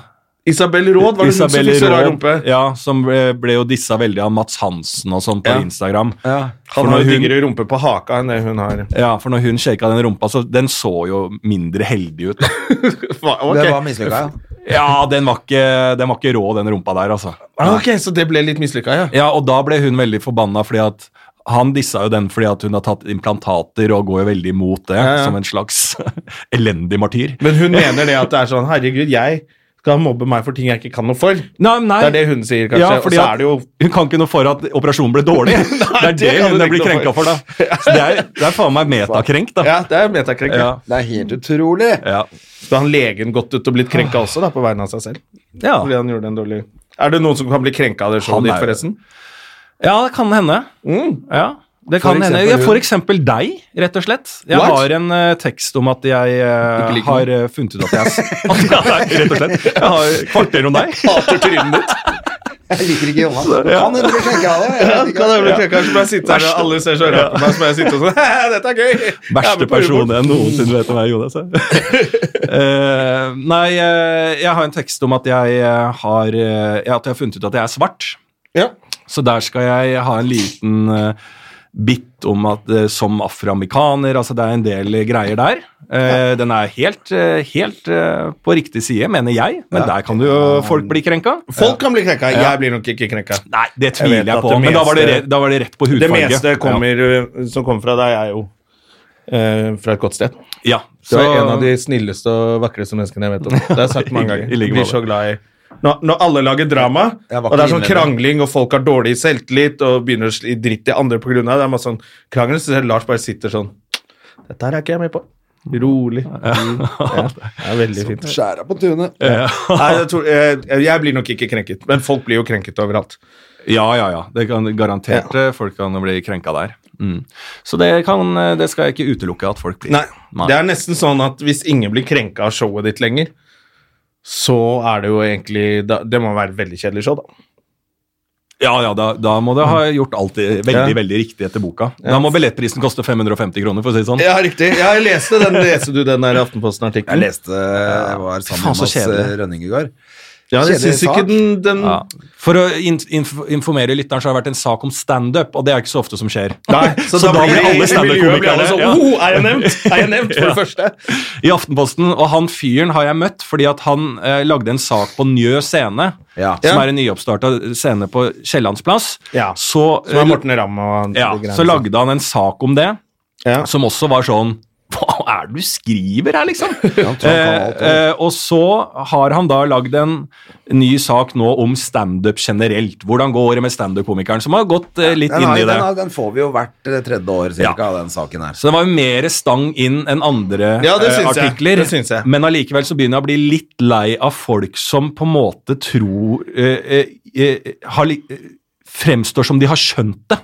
Isabel Råd var det hun som
Isabel
fikk så rar
Råd,
rumpe.
Ja, som ble, ble jo dissa veldig av Mats Hansen og sånn på
Ja.
Instagram.
Ja.
Han
For
har
når
jo
hun-
diggere rumpe på haka enn det hun har.
Ja, for når hun shaka den rumpa, så den så jo mindre heldig ut. da.
Hva- ok.
Det var mislykka, ja.
Ja, den var ikke, den var ikke rå, den rumpa der, altså.
Ah, ok, så det ble litt mislykka, ja.
Ja, og da ble hun veldig forbanna fordi at han dissa jo den fordi at hun har tatt implantater og går jo veldig imot det,
Ja, ja.
som en slags elendig martyr.
Men hun mener det at det er sånn Herregud, jeg skal mobbe meg for ting jeg ikke kan noe for.
Nei, nei.
Det er det hun sier, kanskje.
Ja,
og
fordi
så
at
er det jo
Hun kan ikke noe for at operasjonen ble dårlig. det er
det
det,
kan hun
hun
ikke
blir
noe
krenka
for.
for, da. Så det er, det er faen meg metakrenkt, da.
Ja, det er metakrenk. Ja.
Ja.
Det er helt utrolig.
Ja.
Skulle han legen gått ut og blitt krenka
Ah.
også, da, på vegne av seg selv?
Ja.
Fordi han gjorde en dårlig Er det noen som kan bli krenka av det
Ah. Han
showet ditt,
er jo-
forresten?
ja, det kan hende.
Mm.
Ja. Det kan
eksempel
hende. Ja,
hun.
for eksempel deg, rett og slett. Jeg
What?
har en eh, tekst om at jeg eh,
Ikke liker
har eh, funnet ut at jeg s- at, ja, nei, Rett og slett. Jeg har kvarter om deg.
Hater trynet ditt.
Jeg liker ikke Jonas. Kan hende bli krenka av det. Jeg vet ikke.
Kan jeg bli krenka så må jeg sitte her, og alle ser så rart på meg, så må jeg sitte og sånn «Haha, Dette er gøy! Jeg er
Verste
med på
person
humor.
jeg noensinne vet om er Jonas. Eh, nei, eh, jeg har en tekst om at jeg, eh, har, eh, at jeg har funnet ut at jeg er svart.
Ja.
Så der skal jeg ha en liten eh, bit om at eh, som afroamerikaner Altså det er en del eh, greier der. Eh, Den er helt, eh, helt eh, på riktig side, mener jeg, men der kan jo folk bli krenka.
Folk kan bli krenka. Jeg blir nok ikke krenka.
Nei, det
Jeg
tviler
vet
jeg,
at
på,
det
men da var, det,
meste-
re- da var det rett på
Det
hudfarge.
meste kommer, uh, som kommer fra deg, er jo uh, fra et godt sted.
Ja, ja.
Du
Så,
er en av de snilleste og vakreste menneskene jeg vet om. Det har jeg sagt mange ganger.
I like
Blir så glad i når, når alle lager drama,
Jeg var
og det er
ikke
sånn
innleder.
krangling, og folk har dårlig selvtillit og begynner å sli dritt i andre pga. det, det er masse sånn krangel, så ser du Lars bare sitter sånn Dette her er ikke jeg med på. Rolig. Ja, det er veldig fint.
Skjæra på tunet.
Nei, jeg, tror, jeg, jeg blir nok ikke krenket, men folk blir jo krenket overalt.
Ja, ja, ja. Det kan garantert eh, folk kan bli krenka der. Mm. Så det, kan, eh, det skal jeg ikke utelukke at folk blir.
Nei, Det er nesten sånn at hvis ingen blir krenka av showet ditt lenger, så er det jo egentlig da, Det må være et veldig kjedelig show, da.
Ja, ja, da, da må det ha gjort alt i- veldig
Mm. Ja.
veldig riktig etter boka. Da må billettprisen koste 550 kroner, for å si det sånn.
Ja, riktig. Ja, jeg leste den, leste du den der Aftenposten-artikkelen?
Jeg leste Jeg var
Fy
sammen
faen,
med
så
Mads
kjedelig.
eh, Rønning i går.
Ja, jeg
Kjedelig
syns ikke
sak.
den, den
Ja. For å in inf informere lytteren, så har det vært en sak om standup, og det er ikke så ofte som skjer.
Nei, så, da, blir alle standup-komikere sånn oh, Er jeg nevnt? Er jeg nevnt, for det første?
i Aftenposten, og han fyren har jeg møtt fordi at han eh, lagde en sak på Njø scene,
Ja.
som
Ja.
er en nyoppstarta scene på Kiellandsplass.
Ja,
Så, eh,
Som er Morten Ramm og
ja,
de greiene
så lagde han en sak om det,
Ja.
som også var sånn Hva er det du skriver her, liksom?
han kan alt,
eh, eh, og så har han da lagd en ny sak nå om standup generelt. Hvordan går det med standup-komikeren som har gått eh, litt
Den,
inn
har,
i
den,
det?
har, den får vi jo hvert eh, tredje år, cirka, av den saken her.
Så det var jo mer stang inn enn andre
Ja, det
eh,
syns jeg.
artikler.
Det syns jeg.
Men allikevel så begynner jeg å bli litt lei av folk som på en måte tror eh, eh, eh, har, li- eh, Fremstår som de har skjønt det.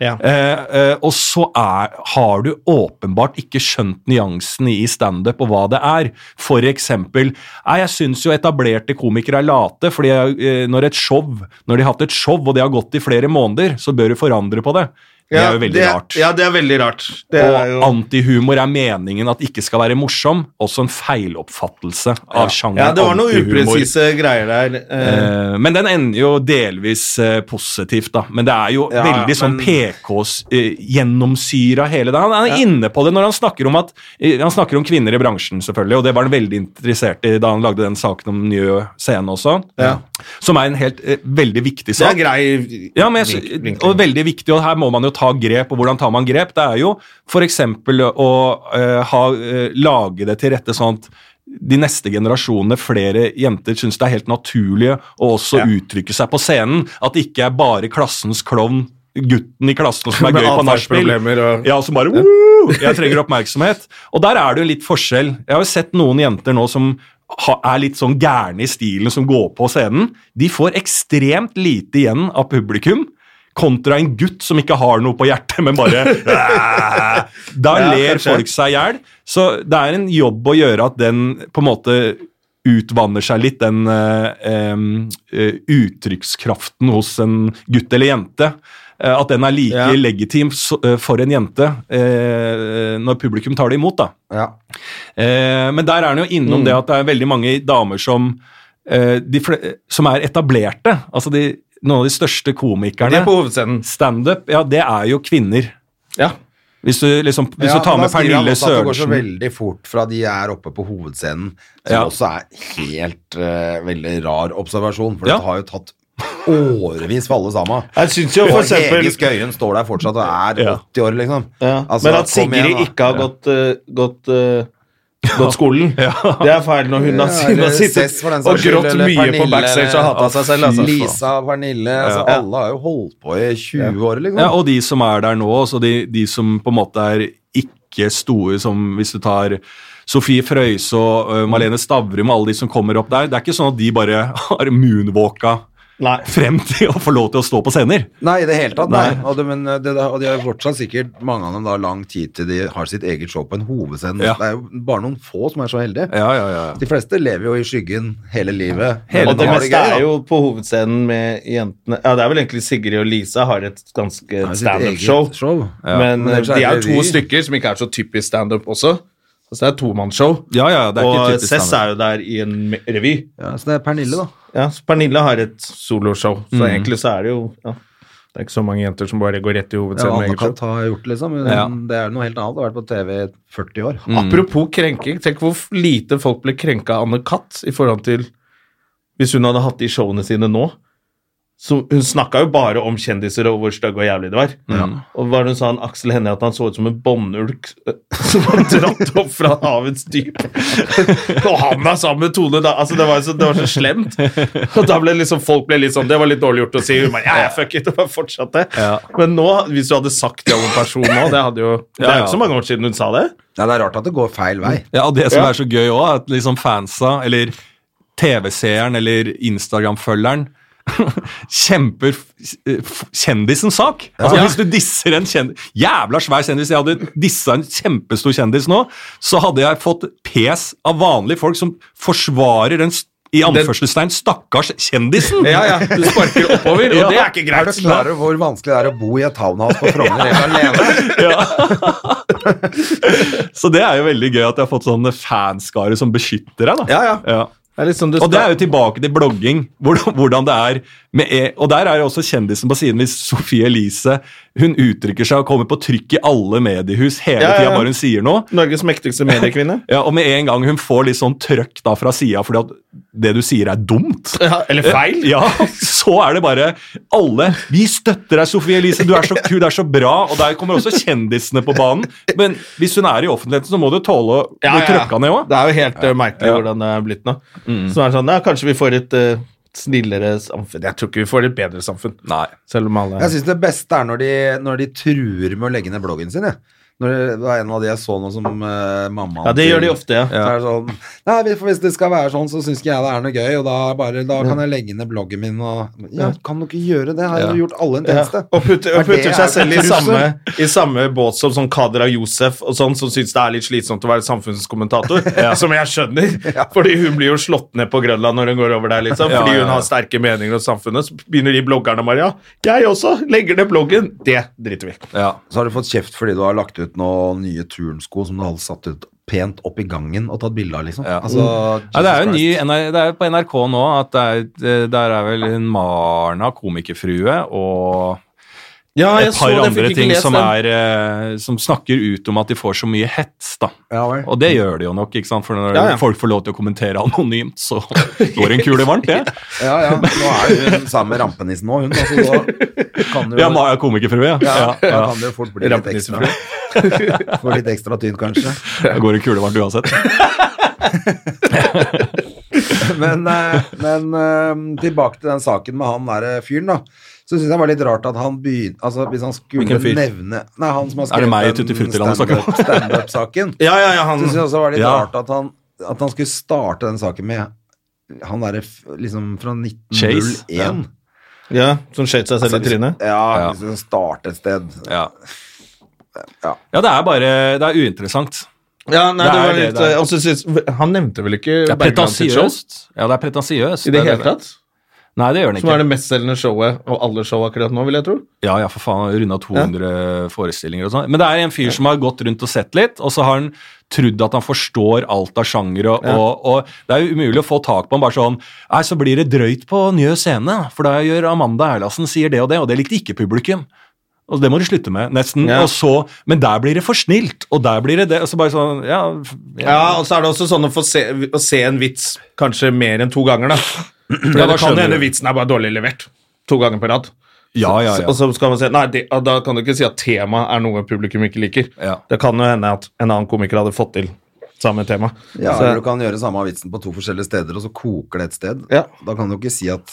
Ja.
Eh, eh, og så er, har du åpenbart ikke skjønt nyansene i standup og hva det er. For eksempel Nei, jeg syns jo etablerte komikere er late, fordi jeg, eh, når et show Når de har hatt et show og det har gått i flere måneder, så bør du forandre på det. Det er jo veldig rart.
Ja, det er veldig rart. Det er
Og
jo
antihumor er meningen at det ikke skal være morsom. Også en feiloppfattelse av sjangeren
ja, det var noen
antihumor.
upresise greier der. Eh,
Eh, men den ender jo delvis eh, positivt, da. Men det er jo
Ja,
veldig sånn
men-
PKs eh, gjennomsyra hele det. Han er inne på det når han snakker om at eh, Han snakker om kvinner i bransjen, selvfølgelig, og det var han veldig interessert i da han lagde den saken om Njø scene også,
Ja.
som er en helt eh, veldig viktig
det er
sak.
grei
Ja, men
vink-
jeg, sy-
vinkling.
og veldig viktig, og her må man jo ta grep. Og hvordan tar man grep? Det er jo f.eks. å eh, ha, eh, lage det til rette sånn at de neste generasjonene, flere jenter, syns det er helt naturlig å også
Ja.
uttrykke seg på scenen. At det ikke er bare klassens klovn, gutten i klassen som er
Med
gøy på nachspiel.
atferdsproblemer og-
Ja, som bare «Woo! Jeg trenger oppmerksomhet. Og der er det jo litt forskjell. Jeg har jo sett noen jenter nå som ha- er litt sånn gærne i stilen, som går på scenen. De får ekstremt lite igjen av publikum. Kontra en gutt som ikke har noe på hjertet, men bare «Æ». Da
Ja,
ler
kanskje.
folk seg i hjel. Så det er en jobb å gjøre at den på en måte utvanner seg litt, den eh, em, eh, uttrykkskraften hos en gutt eller jente. Eh, at den er like
Ja.
legitim så, eh, for en jente eh, når publikum tar det imot. da.
Ja.
Eh, men der er den jo
Mm.
innom det at det er veldig mange damer som, eh, de fle som er etablerte. Altså de, noen av de største
De
komikerne.
er på hovedscenen.
Standup, ja, det er jo kvinner.
Ja.
Hvis du, liksom, hvis
Ja,
du tar
men da
med
skriver han
Pernille
også at Det går så
Sørensen
veldig fort fra de er oppe på hovedscenen, som
Ja.
også er helt eh, veldig rar observasjon, for
Ja.
det har jo tatt årevis for alle sammen.
Jeg syns jo for
Og Hege
eksempel
Skøyen står der fortsatt og er
Ja.
80 år, liksom.
Ja.
Altså,
Men at
kom igjen,
Sigrid
da.
ikke har gått, eh, gått, eh, gått skolen, det er feil når hun har,
Ja,
hun
eller
har sittet
Cess, for den
og
saks skyld,
grått
eller
mye på
Pernille,
backstage og hata seg selv.
eller
Altså.
Lisa, Pernille altså, Alle har jo holdt på i 20 år, liksom.
ja, og de som er der nå, så de, de som på en måte er ikke store som hvis du tar Sofie Frøyse og eh, Malene Stavrum og alle de som kommer opp der. Det er ikke sånn at de bare har moonwalka
Nei.
frem til å få lov til å stå på scener.
Nei, i det hele tatt. Nei.
Nei.
Og, det, men, eh, det, og de har fortsatt sikkert mange av dem da lang tid til de har sitt eget show på en hovedscene.
Ja.
Det er jo bare noen få som er så heldige.
Ja, ja, ja.
De fleste lever jo i skyggen hele livet.
Hele
Og det
har
meste
gøy, da.
er jo på hovedscenen med jentene Ja, det er vel egentlig Sigrid og Lisa har et ganske
sitt
standup-show.
eget show. Ja.
Men
Men
eh,
ellers
de
er sånn
er
det
jo to
revy.
stykker som ikke er så typisk standup også. Altså det er tomannsshow.
Ja, ja, det er ikke
Og
typisk
Cess
standup.
er jo der i en me- revy.
Ja, så det er Pernille, da.
Ja, så Pernille har et soloshow,
Mm.
så egentlig så er det jo ja, Det er ikke så mange jenter som bare går rett i
Ja,
hovedscenen. med eget show.
Anna-Kat. har gjort det, liksom. Men
Ja.
det er noe helt annet. Det har vært på TV i 40 år.
Mm. Apropos krenking, tenk hvor lite folk ble krenka av Anne Katt i forhold til hvis hun hadde hatt de showene sine nå. som, Hun snakka jo bare om kjendiser og hvor stygge og jævlig det var. Og hva er det hun sa han Aksel Hennie at han så ut som en bonnulk eh, som var dratt opp fra havets dyp? og han var sammen med Tone da. Altså, det var, så, det var så slemt. Og da ble liksom folk ble litt sånn Det var litt dårlig gjort å si. Hun bare, ja, ja, fuck it, og bare fortsatte. Men nå, hvis du hadde sagt det om en person nå Det, hadde jo, det er jo ikke så mange år siden hun sa det.
Nei, det er rart at det går feil vei.
Ja, og det som
Ja.
er så gøy òg, at liksom fansa, eller TV-seeren, eller Instagram-følgeren kjemper f- f- kjendisens sak. Altså Hvis du disser en kjendis Jævla svær kjendis! Jeg hadde dissa en kjempestor kjendis nå, så hadde jeg fått pes av vanlige folk som forsvarer den s- i anførselstegn stakkars kjendisen!
Ja, ja, du sparker oppover, og det er ikke
Er
greit.
du klar over hvor vanskelig det er å bo i et townhouse på Frogner helt alene?
Så det er jo veldig gøy at jeg har fått sånn fanskare som beskytter deg. da.
Ja, ja.
ja.
Det er litt sånn du
Og det er
skal-
jo tilbake til blogging. Hvordan, hvordan det er med e Og der er jo også kjendisen på siden hvis Sofie Elise hun uttrykker seg og kommer på trykk i alle mediehus hele
Ja, ja, ja.
tida bare hun sier noe.
Norges mektigste mediekvinne.
Ja, Og med en gang hun får litt sånn trøkk da fra sida fordi at det du sier, er dumt.
Eller feil.
Ja, så er det bare alle Vi støtter deg, Sofie Elise, du er så kul, du er så bra. Og der kommer også kjendisene på banen. Men hvis hun er i offentligheten, så må du tåle å bli trøkka ned òg.
Det er jo helt eh, merkelig hvordan det er blitt nå. Så er det sånn, ja, kanskje vi får et eh, snillere samfunn. Jeg tror ikke vi får et bedre samfunn.
Nei.
Selv om alle
Jeg syns det beste er når de, når de truer med å legge ned bloggen sin. Jeg. Når det det var en av de jeg så nå som eh, mamma
Ja, det gjør de ofte, ja.
Så er det sånn, Nei, vi- for hvis det skal være sånn, så syns ikke jeg det er noe gøy, og da, bare, da kan jeg legge ned bloggen min og Ja, kan du ikke gjøre det? Har jo gjort alle en
Ja.
tjeneste.
Og putter,
Er
og
det-
putter
er
seg
det
selv i
trussel?
samme, i samme båt som sånn Kader og Josef, og sånn, som syns det er litt slitsomt å være samfunnskommentator. Som jeg skjønner, fordi hun blir jo slått ned på Grønland når hun går over der, liksom.
Ja,
Fordi
ja,
hun
ja.
har sterke meninger om samfunnet. Så begynner de bloggerne bare ja, jeg også legger ned bloggen. Det driter vi i.
Ja.
Så har du fått kjeft fordi du har lagt ut noen nye turnsko som du har satt ut pent opp i gangen og tatt bilde av, liksom.
Ja.
Altså,
Ja, det er jo en ny,
Jesus Christ.
NR det er jo på NRK nå at det er, det- der er vel en Marna komikerfrue og
Ja,
et par andre ting som, er, eh, som snakker ut om at de får så mye hets. da.
Ja, vel.
Og det gjør de jo nok, ikke sant? for når
Ja, ja.
folk får lov til å kommentere anonymt, så går en kule varmt, det.
Ja, ja. Nå er hun sammen med rampenissen nå, hun. Altså, da kan du
Ja, Maja komikerfrue, ja.
Ja,
ja,
da
ja.
kan det jo fort bli litt ekstra. Få litt ekstra tynn, kanskje.
Det går en kule varmt uansett.
Men, eh, men eh, tilbake til den saken med han der eh, fyren, da. Så syns jeg det var litt rart at han begynte altså, Hvis han skulle
Hvilken fyr?
nevne Nei, han som har
Er det
skrevet
meg i
den
Tutti Frutti-land du snakker om?
standup- standup-saken.
Ja, ja, ja, han
Så syns jeg også det var litt
Ja.
rart at han, at han skulle starte den saken med han derre f- liksom fra 1901.
Chase, ja.
ja, som skjøt seg selv i trynet.
liksom- Ja,
Ja.
hvis du starter et sted.
Ja.
Ja.
ja, det er bare Det er uinteressant.
Ja, nei,
Det
det
er
var
det,
litt, eh,
det er-
og så syns- Han nevnte vel ikke
Det er
Bergland sitt show?
pretensiøst. Ja, det er pretensiøst.
I det hele tatt?
Nei, det gjør den ikke.
Som er det mestselgende showet av alle show akkurat nå, vil jeg tro.
Ja, ja, for faen, runda 200 forestillinger og sånn. Men det er en fyr som har gått rundt og sett litt, og så har han trodd at han forstår alt av sjangere, og, og, og det er jo umulig å få tak på ham. Bare sånn Nei, så blir det drøyt på Njø scene, for da gjør Amanda Erlassen sier det og det, og det likte ikke publikum. Og det må du slutte med, nesten.
Ja.
Og så Men der blir det for snilt, og der blir det det. Og så bare sånn Ja. f-
Ja, og så er det også sånn å få se, å se en vits kanskje mer enn to ganger, da. For
Ja, da
det kan
skjønner
hende
du.
vitsen er bare dårlig levert. To ganger på rad.
Ja, ja,
Så-
ja.
Og så skal man si Nei, det, og da kan du ikke si at temaet er noe publikum ikke liker.
Ja.
Det kan jo hende at en annen komiker hadde fått til samme tema.
Ja,
Så-
eller du kan gjøre samme vitsen på to forskjellige steder, og så koker det et sted.
Ja.
Da kan du ikke si at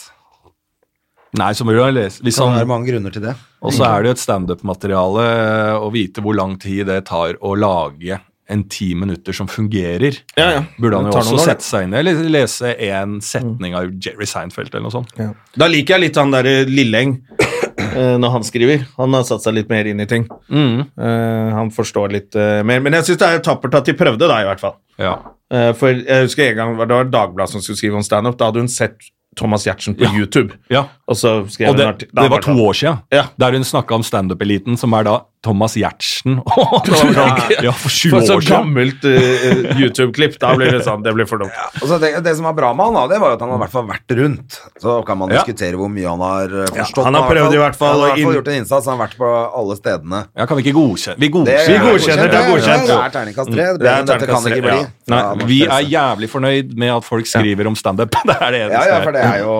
Nei, så må du ha lest Hvis
Det kan
han
være mange grunner til det.
Og så er det jo et standup-materiale eh, å vite hvor lang tid det tar å lage en ti minutter som fungerer.
Ja, ja.
Burde han
Det
jo
tar
også
noen år,
sette seg inn i, eller lese en setning av Jerry Seinfeld eller noe sånt.
Da liker jeg litt han derre Lilleng eh, når han skriver. Han har satt seg litt mer inn i ting.
Mm.
Eh, han forstår litt eh, mer. Men jeg syns det er tappert at de prøvde, da, i hvert fall.
Ja.
Eh, For jeg husker en gang det var Dagbladet som skulle skrive om standup. Da hadde hun sett Thomas Giertsen på
Ja.
YouTube.
ja.
Og så skrev
Og det,
hun arti- da
det var to
sånn,
år siden,
Ja.
der hun snakka om standup-eliten, som er da Thomas Giertsen. Og det var sånn, ja, for sju
For så
år siden!
gammelt eh, YouTube-klipp. Da blir det sånn, det blir for dumt.
Og så det, det som var bra med han, da, det var jo at han har i hvert fall vært rundt. Så kan man
Ja.
diskutere hvor mye han har eh, forstått.
Ja, han har
da,
prøvd i hvert fall å
Han har i hvert fall
inn-
gjort en innsats, han har vært på alle stedene.
Ja, kan vi ikke godkjenne Vi godkjenner!
Vi godkjenner, det er
ja,
godkjent.
Det er terningkast tre.
Det er
men Dette kan
terningkast
det ikke
tre,
bli.
ja.
Nei,
Ja, norsk
vi er
presse.
jævlig fornøyd med at folk skriver om standup. Det er det
ja,
eneste.
ja, for det er jo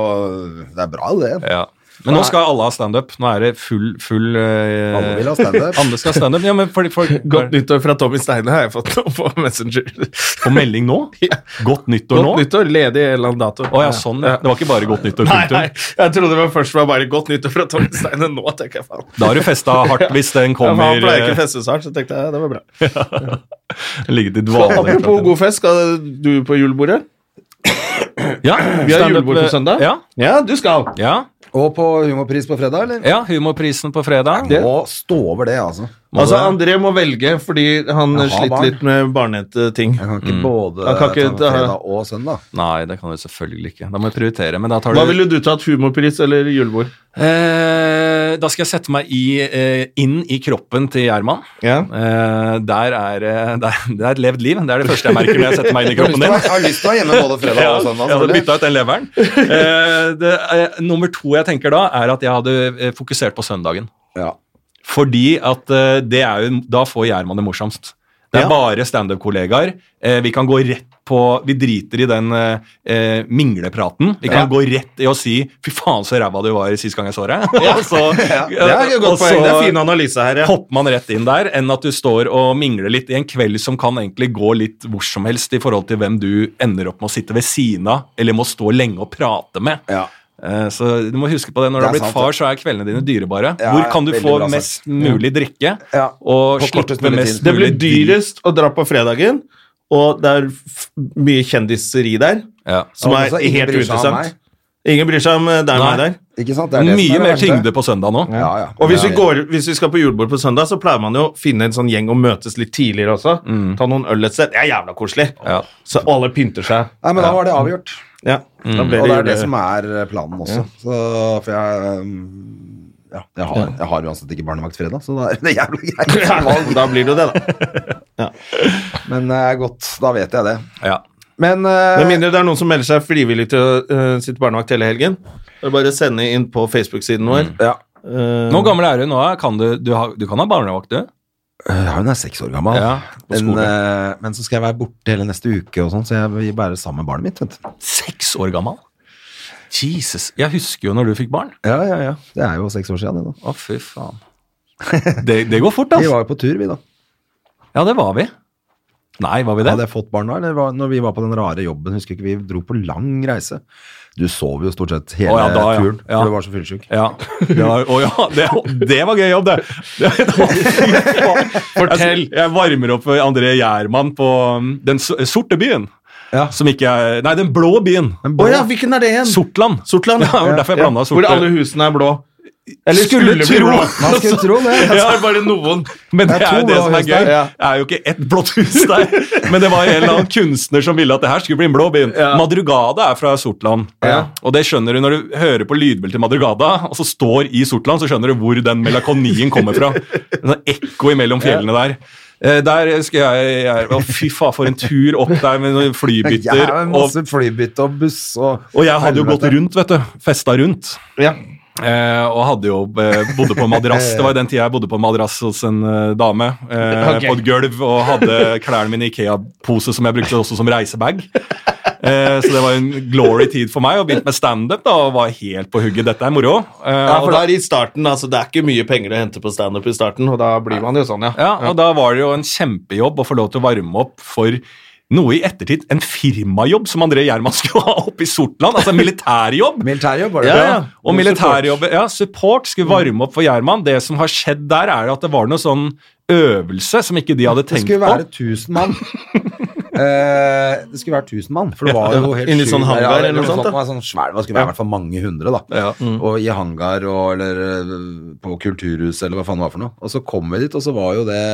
Det er bra, det.
Ja. Men nå skal alle ha standup. Nå er det full, full eh,
Alle vil ha standup.
Alle skal ha standup. Ja, men fordi folk
Godt nyttår fra Tommy Steine har jeg fått nå på Messenger.
På melding nå? Godt nyttår
Godt
nå?
nyttår, ledig en eller annen dato.
Å ja, sånn. ja. Det var ikke bare godt nyttår,
Nei, nei,
punktum.
jeg trodde det var først var bare godt nyttår fra Tommy Steine. Nå tenker jeg faen.
Da har du festa hardt hvis den
Ja,
kommer
han pleier ikke å
eh,
feste så hardt, så tenkte jeg det var bra.
ligget i dvale. liksom.
Apropos god fest, skal du på julebordet?
Ja,
Vi har
standup,
julebord på
eh,
søndag.
Ja,
Ja, du skal.
ja,
Og på humorpris på fredag, eller?
ja, humorprisen på fredag.
Må stå over det, altså.
Altså, André må velge fordi han
Jeg har
sliter
barn.
litt med barnete ting.
Jeg kan ikke både
Jeg Mm. kan ikke
ta med
ta-
fredag og søndag.
Nei, det kan du selvfølgelig ikke. Da må jeg prioritere. Men da tar du
Hva ville du tatt? Humorpris eller julebord?
eh, Da skal jeg sette meg i, eh, inn i kroppen til Gjerman.
Ja.
Eh, der er eh, der, Det er et levd liv. Det er det første jeg merker når jeg setter meg inn i kroppen din.
Jeg har lyst til å ha hjemme både fredag
sånn, altså,
og søndag.
jeg hadde
selvfølgelig.
bytta ut den leveren. Eh, det, eh, nummer to jeg tenker da, er at jeg hadde eh, fokusert på søndagen.
Ja.
Fordi at eh, det er jo Da får Gjerman det morsomst. Det
Ja.
er bare standup-kollegaer. Eh, vi kan gå rett på Vi driter i den eh, eh, minglepraten. Vi
Ja.
kan gå rett i å si 'fy faen, så ræva du var sist gang jeg så deg'. og så,
Det er et
og
godt poeng.
så
Det er fin analyse her, ja.
hopper man rett inn der, enn at du står og mingler litt i en kveld som kan egentlig gå litt hvor som helst i forhold til hvem du ender opp med å sitte ved siden av, eller må stå lenge og prate med.
Ja.
Eh, Så du må huske på det. Når du
Det
har
er
blitt
sant,
far,
det.
så er kveldene dine dyrebare.
Ja,
hvor kan du
veldig
få
bra sagt.
mest mulig drikke,
Ja.
og
På kortest
slippe
mulig
mest
tid.
Det blir
mulig drit?
dyrest å dra på fredagen, og det er f mye kjendiseri der,
Ja.
som
Og
er
også ingen
helt
bryr seg om
uinteressant. Ingen bryr seg om eh, deg og
Nei.
meg der.
Ikke sant? Det er det som
Mye
er det
mer
verste.
tyngde på søndag nå.
Ja, ja.
Og hvis vi,
Ja, ja.
går, hvis vi skal på julebord på søndag, så pleier man jo å finne en sånn gjeng og møtes litt tidligere også.
Mm.
Ta noen øl et sted. Det er jævla koselig.
Ja.
Så alle pynter seg.
Nei, men da var det avgjort.
Ja.
Mm.
Da blir
Og det er det
jule-
som er eh, planen også. Så, for jeg um, ja, jeg, har, jeg har uansett ikke barnevakt fredag, så da er det jævlig greit.
Da blir det jo det, da.
Men eh, godt, da vet jeg det.
Ja.
Men
Med
eh,
mindre det er noen som melder seg frivillig til å eh, sitte barnevakt hele helgen. Mm. Det er bare å sende inn på Facebook-siden vår.
ja.
Eh,
Nå gammel er du nå? Kan du, du, har, du kan ha barnevakt, du.
Eh, Hun er seks år gammel.
Ja, på
men,
skolen.
eh, men så skal jeg være borte hele neste uke, og sånn, så jeg vil være sammen med barnet mitt. Vet du.
Seks år gammel. Jesus. Jeg husker jo når du fikk barn.
Ja, ja, ja. Det er jo seks år siden, det. da
Å, fy faen. Det, det går fort,
Vi
altså.
var jo på tur, vi, da.
Ja, det var vi. Nei, var vi det?
Hadde jeg fått barn da, eller var, når vi var på den rare jobben? Husker ikke, vi dro på lang reise. Du sov jo stort sett hele
Å ja, da, ja.
turen,
Ja.
for du var så fyllesyk.
Ja. Det var, å ja, det, det var gøy jobb, det. det, det var, Fortell. Jeg, jeg varmer opp for André Gjerman på um, Den s- sorte byen.
Ja.
Som ikke er Nei, den blå byen.
Å ja, hvilken er det igjen?
Sortland.
Sortland.
Ja, det var derfor jeg blanda sorte.
Hvor alle husene er blå. Eller
Skulle
skulle, bli
tro.
blå.
Man skulle tro det.
Ja, det er bare noen.
Men det
Det er
er jo
to
det
blå
som er
hus
gøy.
der,
Det
ja.
er jo ikke ett blått hus der, men det var en eller annen kunstner som ville at det her skulle bli en blå by.
Ja.
Madrugada er fra Sortland,
Ja.
og det skjønner du når du hører på lydbildet til Madrugada, og så står i Sortland, så skjønner du hvor den melakonien kommer fra. En sånn ekko imellom fjellene der. Eh, Der skal jeg, jeg Å, fy faen, for en tur opp der med noen flybytter.
Ja, men
og,
masse flybytte og buss og
og jeg hadde jo gått
Helvete.
rundt, vet du. Festa rundt.
Ja.
Eh, og hadde jo eh, bodde på madrass. Det var jo den tida jeg bodde på madrass hos en eh, dame. Eh,
Ok.
På et gulv og hadde klærne mine i Ikea-pose, som jeg brukte også som reisebag. Eh, så det var en glory tid for meg, og begynte med standup da, og var helt på hugget. Dette er moro. Eh,
Ja,
og
for
da,
der i starten, altså, Det er ikke mye penger å hente på standup i starten, og da blir man jo sånn, ja.
ja, og da var det jo en kjempejobb å få lov til å varme opp for noe i ettertid. En firmajobb som André Gjerman skulle ha oppe i Sortland. Altså en militærjobb.
Militærjobb, var det
Ja,
det?
Ja,
ja.
Og
Noe
militærjobben Ja, support skulle varme opp for Gjerman. Det som har skjedd der, er jo at det var noe sånn øvelse som ikke de hadde
Det
tenkt
skulle
på.
være 1000 mann. Eh, det skulle være 1000 mann, for det var jo helt
Inni sånn
sjukt.
hangar
Ja,
eller noe sånt,
Det
da?
var sånn svær, det skulle være i hvert fall mange hundre, da.
Ja.
Mm.
Og i hangar og eller eh, på kulturhuset eller hva faen det var for noe. Og så kom vi dit, og så var jo det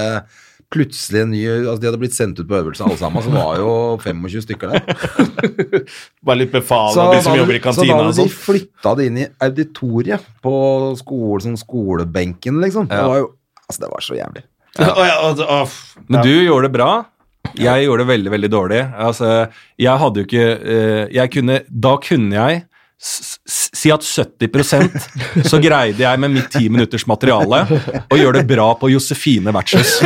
plutselig en ny Altså de hadde blitt sendt ut på øvelse alle sammen, så var jo 25 stykker der.
Bare litt befal
Så
av de som
da-
jobber i
så da
kantina og
hadde de
sånn.
flytta det inn i auditoriet på skole, sånn skolebenken, liksom. Det var jo Altså, det var så jævlig.
Å, ja, å, å, f-
Men
ja.
du gjorde det bra. Jeg gjorde det veldig, veldig dårlig. Altså, jeg hadde jo ikke eh, jeg kunne, Da kunne jeg s- s- si at 70 så greide jeg med mitt ti minutters materiale å gjøre det bra på Josefine Vertshus.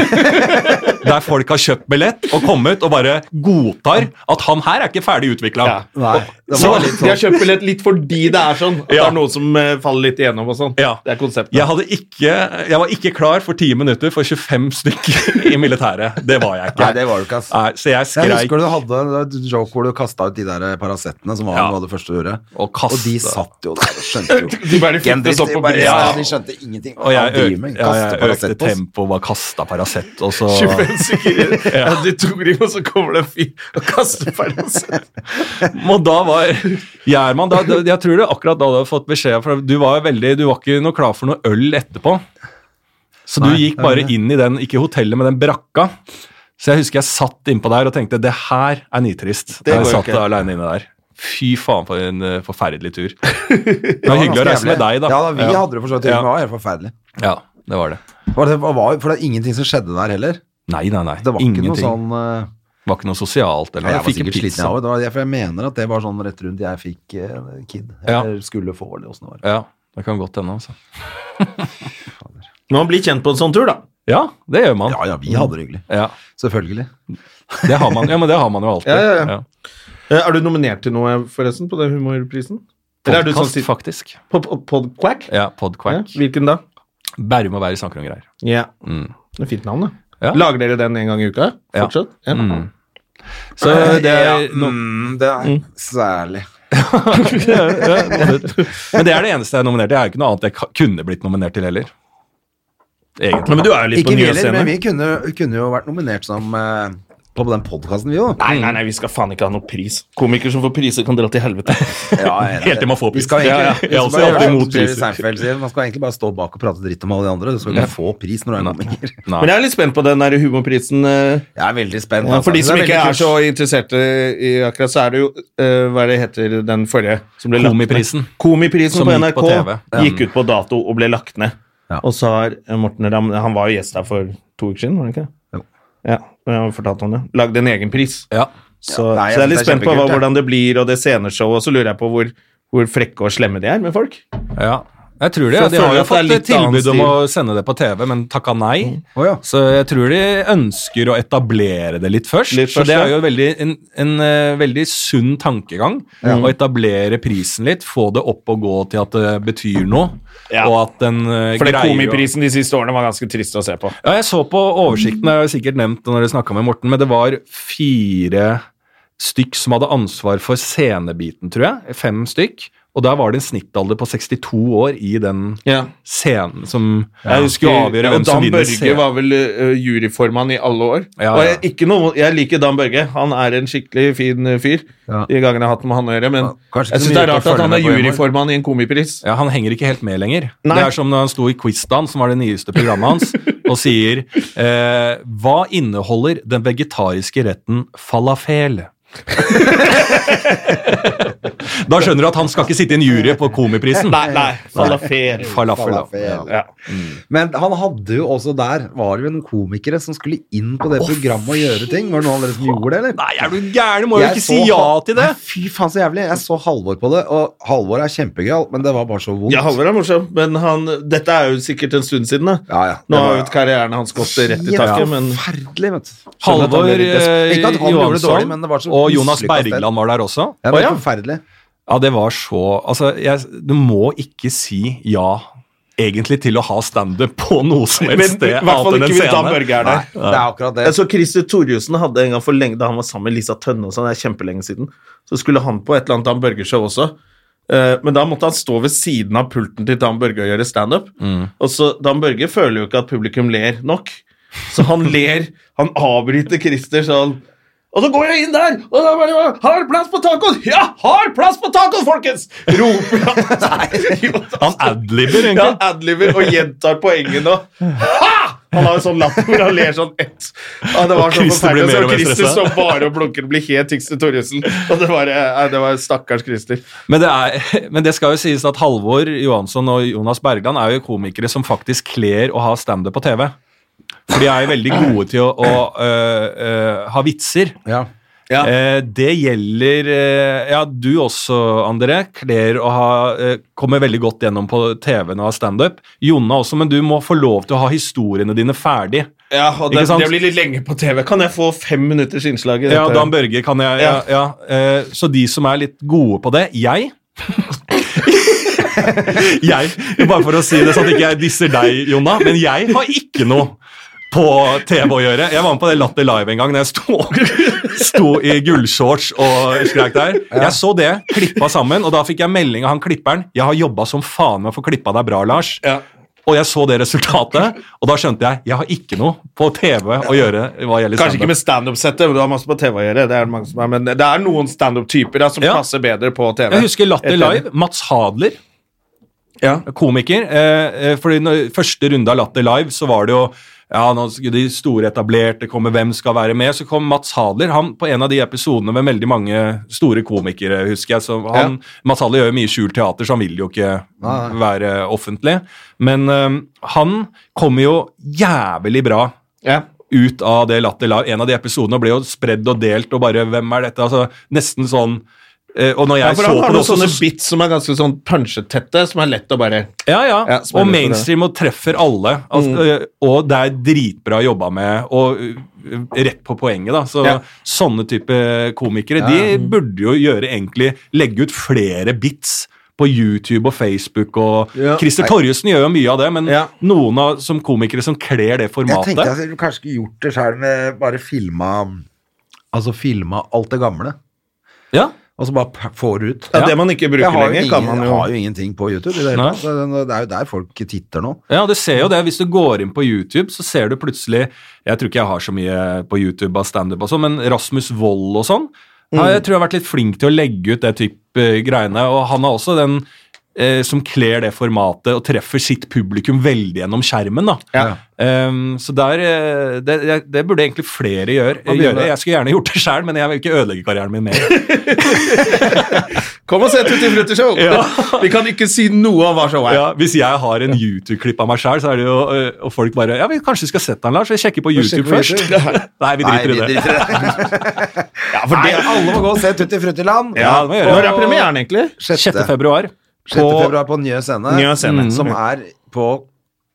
der folk har kjøpt billett og kommet og bare godtar at han her er ikke ferdig utvikla.
Ja.
Nei, det
Så
var litt
De
sånn
har kjøpt billett litt fordi det er sånn. At
Ja.
det er noen som eh, faller litt igjennom og sånn.
Ja.
Det er konseptet.
Jeg, hadde ikke, jeg var ikke klar for 10 minutter for 25 stykker i militæret. Det var jeg ikke.
Nei, det var du ikke, ass.
Nei, så jeg
Jeg
skreik
husker du hadde en joke hvor du kasta ut de der Paracetene, som var
Ja.
noe av det første du gjorde.
Og kaste.
de satt jo der og skjønte jo
De bare
Ikke en
fikk det
dritt,
opp
de
på
bare-
brystet.
ja, de skjønte ingenting.
Og jeg,
Hva driver
øk,
med?
ja,
Kaste
jeg økte
Paracet på oss.
tempoet, bare kasta Paracet, og så
25 stykker Ah. ja. De tror og så kommer det en fyr og kaster Paracet.
Og da var Gjerman da, da, Jeg tror det akkurat da du hadde fått beskjed For du var, veldig, du var ikke noe klar for noe øl etterpå Så du
Nei,
gikk
det er
bare
det.
inn i den Ikke hotellet, men den brakka Så jeg husker jeg satt innpå der og tenkte Det her er nitrist
Det
Da Jeg
går jo
satt
ikke.
alene inne der Fy faen for en eh, forferdelig tur Det var hyggelig å
ganske
reise med
jævlig.
deg da
Ja, da, vi hadde det for så vidt.
Ja.
Det var helt forferdelig.
Ja, det var det
Var det, var, for det er ingenting som skjedde der heller.
Nei, nei, nei,
Det var
ingenting
ikke noe sånn eh,
Det var ikke noe sosialt eller,
ja, Jeg
noe.
var
fikk en
sikkert sliten,
pizza.
jeg òg. Det var det- For jeg mener at det var sånn rett rundt jeg fikk eh, kid.
Ja.
Eller skulle få, eller åssen det var.
Ja, det kan godt hende altså.
Når man blir kjent på en sånn tur, da.
Ja, det gjør man
Ja ja, vi hadde det hyggelig.
Ja,
Selvfølgelig.
det har man, ja men det har man jo alltid
Ja, ja, ja. Eh, Er du nominert til noe, forresten, på den humorprisen? Eller er du sånn
Podcast,
sitt-
faktisk.
på- på- Podquack?
Ja, Podquack.
Ja, Hvilken da?
Bærum og Bær i Sanker og greier.
Ja.
Mm.
Det er fint navn, da.
Ja.
Lager dere den en gang i uka?
Ja.
Fortsatt? Ja.
Mm. Så det er,
Ja,
no,
mm, det er særlig.
ja, ja, Men det er det eneste jeg er nominert til. Jeg er jo ikke noe annet jeg ka- kunne blitt nominert til heller. Egentlig.
Nei, men du er jo litt
Ikke
på
vi
nye
heller, men
scener.
vi kunne, kunne jo vært nominert som eh, på den podkasten, vi jo.
Nei, nei, nei, vi skal faen ikke ha noe pris. Komikere som får priser, kan dra til helvete.
Ja, jeg er enig.
Helt til man får
Vi
pris.
skal egentlig,
Ja, ja. Jeg er
vi
også
skal bare, gjøre
alltid mot
som Jerry
priser.
Seinfeld sier, man skal egentlig bare stå bak og prate dritt om alle de andre. Du skal ikke få pris når du er komiker.
Nei.
Men jeg er litt spent på den der humorprisen. eh,
Jeg er veldig spent.
Ja,
altså.
for de
Det
som ikke
veldig
er
kult.
så interesserte i akkurat, så er det jo eh, Hva er det heter den forrige? som ble lagt ned?
Komiprisen.
Komiprisen
Som
på
gikk
NRK
på TV.
gikk ut på dato og ble lagt ned.
Ja.
Og så har eh, Morten Ramm Han var jo gjest her for to uker siden, var han ikke det?
Jo.
Ja, jeg har fortalt om det. Lagd en egen pris.
Ja.
Så, så jeg er
Ja, nei, jeg synes
litt
det er
spent på hva,
kjempekult, ja.
hvordan det blir, og det sceneshow, og så lurer jeg på hvor, hvor frekke og slemme de er med folk.
ja. Jeg tror det.
Så jeg
De har
føler at det
jo
er
fått
litt annen
tilbud
stil.
om
Mm.
å sende det på TV, men takka nei.
Å ja.
Så jeg tror de ønsker å etablere det litt først.
Litt
så
først,
det er
ja.
jo veldig, en, en eh, veldig sunn tankegang å etablere prisen litt, få det opp og gå til at det betyr noe,
Ja.
og at den eh,
For det
greier å-
komiprisen de siste årene var ganske trist å se på.
Ja, jeg så på oversikten, det har jeg sikkert nevnt når dere snakka med Morten, men det var fire stykk som hadde ansvar for scenebiten, tror jeg. Fem stykk. Og der var det en snittalder på 62 år i den scenen som
Jeg husker,
skulle avgjøre
og
hvem som
Dan
vinner
Børge
scenen.
var vel ø, juryformann i alle år.
Ja,
Og
ja.
jeg, ikke noe, jeg liker Dan Børge. Han er en skikkelig fin ø, fyr.
Ja.
De gangene jeg har hatt med han å gjøre. Men
Ja, kanskje ikke
jeg
så
syns
mye
det er rart
å
at
følge
han
med
er
på hjemme.
juryformann i en komipris.
Ja, Han henger ikke helt med lenger.
Nei.
Det er som når han sto i Quizdan, som var det nyeste programmet hans, og sier eh, Hva inneholder den vegetariske retten falafel? da skjønner du at han skal ikke sitte i en jury på Komiprisen.
Nei, nei. Falafel.
Falafel, da.
Falafel.
Ja.
Men han hadde jo også der Var det jo noen komikere som skulle inn på det programmet og gjøre ting? Var det noen av dere som gjorde det, eller?
Nei, er du gæren? Må jo
Jeg
ikke
så
si ja
Hal-
til det!
Nei, Fy faen, så jævlig. Jeg så Halvor på det, og Halvor er kjempegøy, men det var bare så vondt.
Ja, Halvor er morsom, men han, dette er jo sikkert en stund siden. da
Ja, ja. Det
Nå
var-
har jo karrieren hans gått rett i
Ja,
taket, men
Forferdelig, vet du. Skjønner at han
Halvor
ble litt desperat.
eh,
Ikke at han gjorde det dårlig, men det var så
Johansson og Jonas
mislykket sted.
Bergland var der også.
Ja, det
Å,
var
ja.
forferdelig.
Ja, det var så Altså, jeg, du må ikke si ja egentlig til å ha standup på noe som
Men i
helst sted.
hvert fall
annet enn en
ikke hvis Dan
scene.
Børge er der.
Nei, det er akkurat det.
Jeg så Christer Torjussen hadde en gang for lenge da han var sammen med Lisa Tønne og sånn, det er kjempelenge siden, så skulle han på et eller annet Dan Børge-show også. Eh, Men da måtte han stå ved siden av pulten til Dan Børge og gjøre standup. Og så Dan Børge føler jo ikke at publikum ler nok, så han ler. Han avbryter Christer sånn. Og så går jeg inn der, og da bare Har plass på tacoen! Ja, har plass på tacoen, folkens! Roper han.
Han adlibber,
Ja,
egentlig.
adliver og gjentar poengene og ha! Han har en sånn latter hvor han ler sånn ett. Ja, det var
Og
så
Christer
forferdelig.
blir mer
Så
og mer
Christer
stresset.
står bare og blunker og blir helt Tixter Torjussen. Og det var, nei, det var stakkars Christer.
Men, det er, men det skal jo sies at Halvor Johansson og Jonas Bergland er jo komikere som faktisk kler å ha standup på TV. For de er jo veldig gode til å, å øh, øh, ha vitser.
Ja. Ja.
Eh, det gjelder eh, Ja, du også, André. Kler å ha eh, Kommer veldig godt gjennom på TV-en og har standup. Jonna også, men du må få lov til å ha historiene dine ferdig.
Ja, og
Ikke
det,
sant?
det blir litt lenge på TV. Kan jeg få fem minutters innslag? i
Ja,
dette?
Dan Børge kan jeg ja, ja. Eh, Så de som er litt gode på det Jeg Jeg, bare for å si det sånn at ikke jeg disser deg, Jonna, men jeg har ikke noe på TV å gjøre. Jeg var med på det Latter Live en gang da jeg sto, sto i gullshorts og skrek der. Jeg så det, klippa sammen, og da fikk jeg melding av han klipperen. Jeg har jobba som faen med å få klippa deg bra, Lars.
Ja.
Og jeg så det resultatet, og da skjønte jeg jeg har ikke noe på TV å gjøre hva gjelder
Kanskje ikke
standup.
med standup-settet, men du har masse på TV å gjøre. Det er det mange som er, men det er noen standup-typer da, som
Ja.
passer bedre på TV.
Jeg husker Latter
Helt enig.
Live. Mats Hadler,
Ja.
komiker. Eh, eh, fordi når, Første runde av Latter Live så var det jo ja, nå skulle de store etablerte komme, hvem skal være med? Så kom Mats Hadler han på en av de episodene med veldig mange store komikere, husker jeg. Så han, Mats Hadler gjør jo mye skjult teater, så han vil jo ikke
Nei,
være offentlig. Men eh, han kommer jo jævlig bra
Ja.
ut av det Latter Live. En av de episodene ble jo spredd og delt, og bare hvem er dette? Altså, nesten sånn eh, Og når
Ja,
jeg
for
så
han
på
har
det
noen
også,
sånne
så
bits som er ganske sånn punsjetette, som er lett å bare
Ja,
Ja,
ja. og
smeller for
mainstream og treffer alle. Altså, øh, Og det er dritbra jobba med, og øh, rett på poenget, da. Så
Ja.
sånne type komikere, de burde jo gjøre egentlig Legge ut flere bits på YouTube og Facebook og
Ja.
Christer Torjussen gjør jo mye av det, men
Ja.
noen av, som komikere som kler det
Jeg
formatet
tenkte jeg skulle kanskje skulle gjort det sjøl med bare filma Altså filma alt det gamle,
ja.
og så bare p- får ut.
ja, Det man ikke bruker
Jeg har jo,
lenger,
ingen,
kan man jo
har jo ingenting på YouTube. I det, hele
Nei.
tatt. Så det er jo der folk titter nå.
Ja, du ser jo det. Hvis du går inn på YouTube, så ser du plutselig Jeg tror ikke jeg har så mye på YouTube av standup og sånn, men Rasmus Wold og sånn har- Jeg tror jeg har vært litt flink til å legge ut det type eh, greiene. Og han er også den eh, som kler det formatet og treffer sitt publikum veldig gjennom skjermen, da.
Ja.
Ehm, så der, eh, det, det- det burde egentlig flere gjøre. gjøre. Jeg skulle gjerne gjort det sjøl, men jeg vil ikke ødelegge karrieren min mer.
Kom og se Tutti Frutti Show!
Ja.
Vi kan ikke si noe om hva showet er.
Ja, hvis jeg har en YouTube-klipp av meg sjøl, så er det jo øh, Og folk bare Ja, vi kanskje skal sette den, Lars? Vi sjekker på YouTube
sjekker på
først. Nei, vi driter i det.
Ja, for
Nei,
det,
alle må gå og se Tutti Fruttiland!
ja,
Ja, det må jeg gjøre.
Når er premieren, egentlig?
6. februar.
6. februar på Njø scene,
Njø scene.
Mm. som er på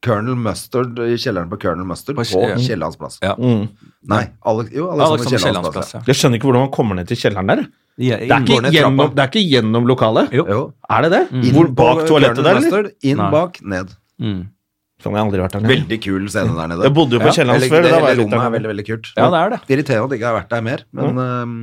Colonel Mustard, i kjelleren på Colonel Mustard,
På
på,
Kje-
Kiellands plass.
Ja.
Mm.
Nei, alle, jo,
Alexander
Alexander
Kiellands
Kiellands plass.
plass, ja.
Jeg skjønner ikke hvordan man kommer ned til kjelleren der. Det er
Inn-
Går
ikke
ned
gjennom,
trappa.
det er ikke gjennom lokalet.
Jo.
Jo.
Er det det?
Inn
Mm. Hvor,
på
bak toalettet
Colonel
der, eller?
Mustard, Inn,
Nei.
bak, ned.
Mm.
Sånn har jeg aldri vært der. nede.
Veldig kul scene der nede.
Jeg bodde jo på Kiellands
Eller-
før,
Det
da var
hele
jeg litt
rommet er
gammel.
veldig, veldig kult.
Ja, det er det.
Irriterende at jeg ikke har vært der mer,
Mm.
men øhm,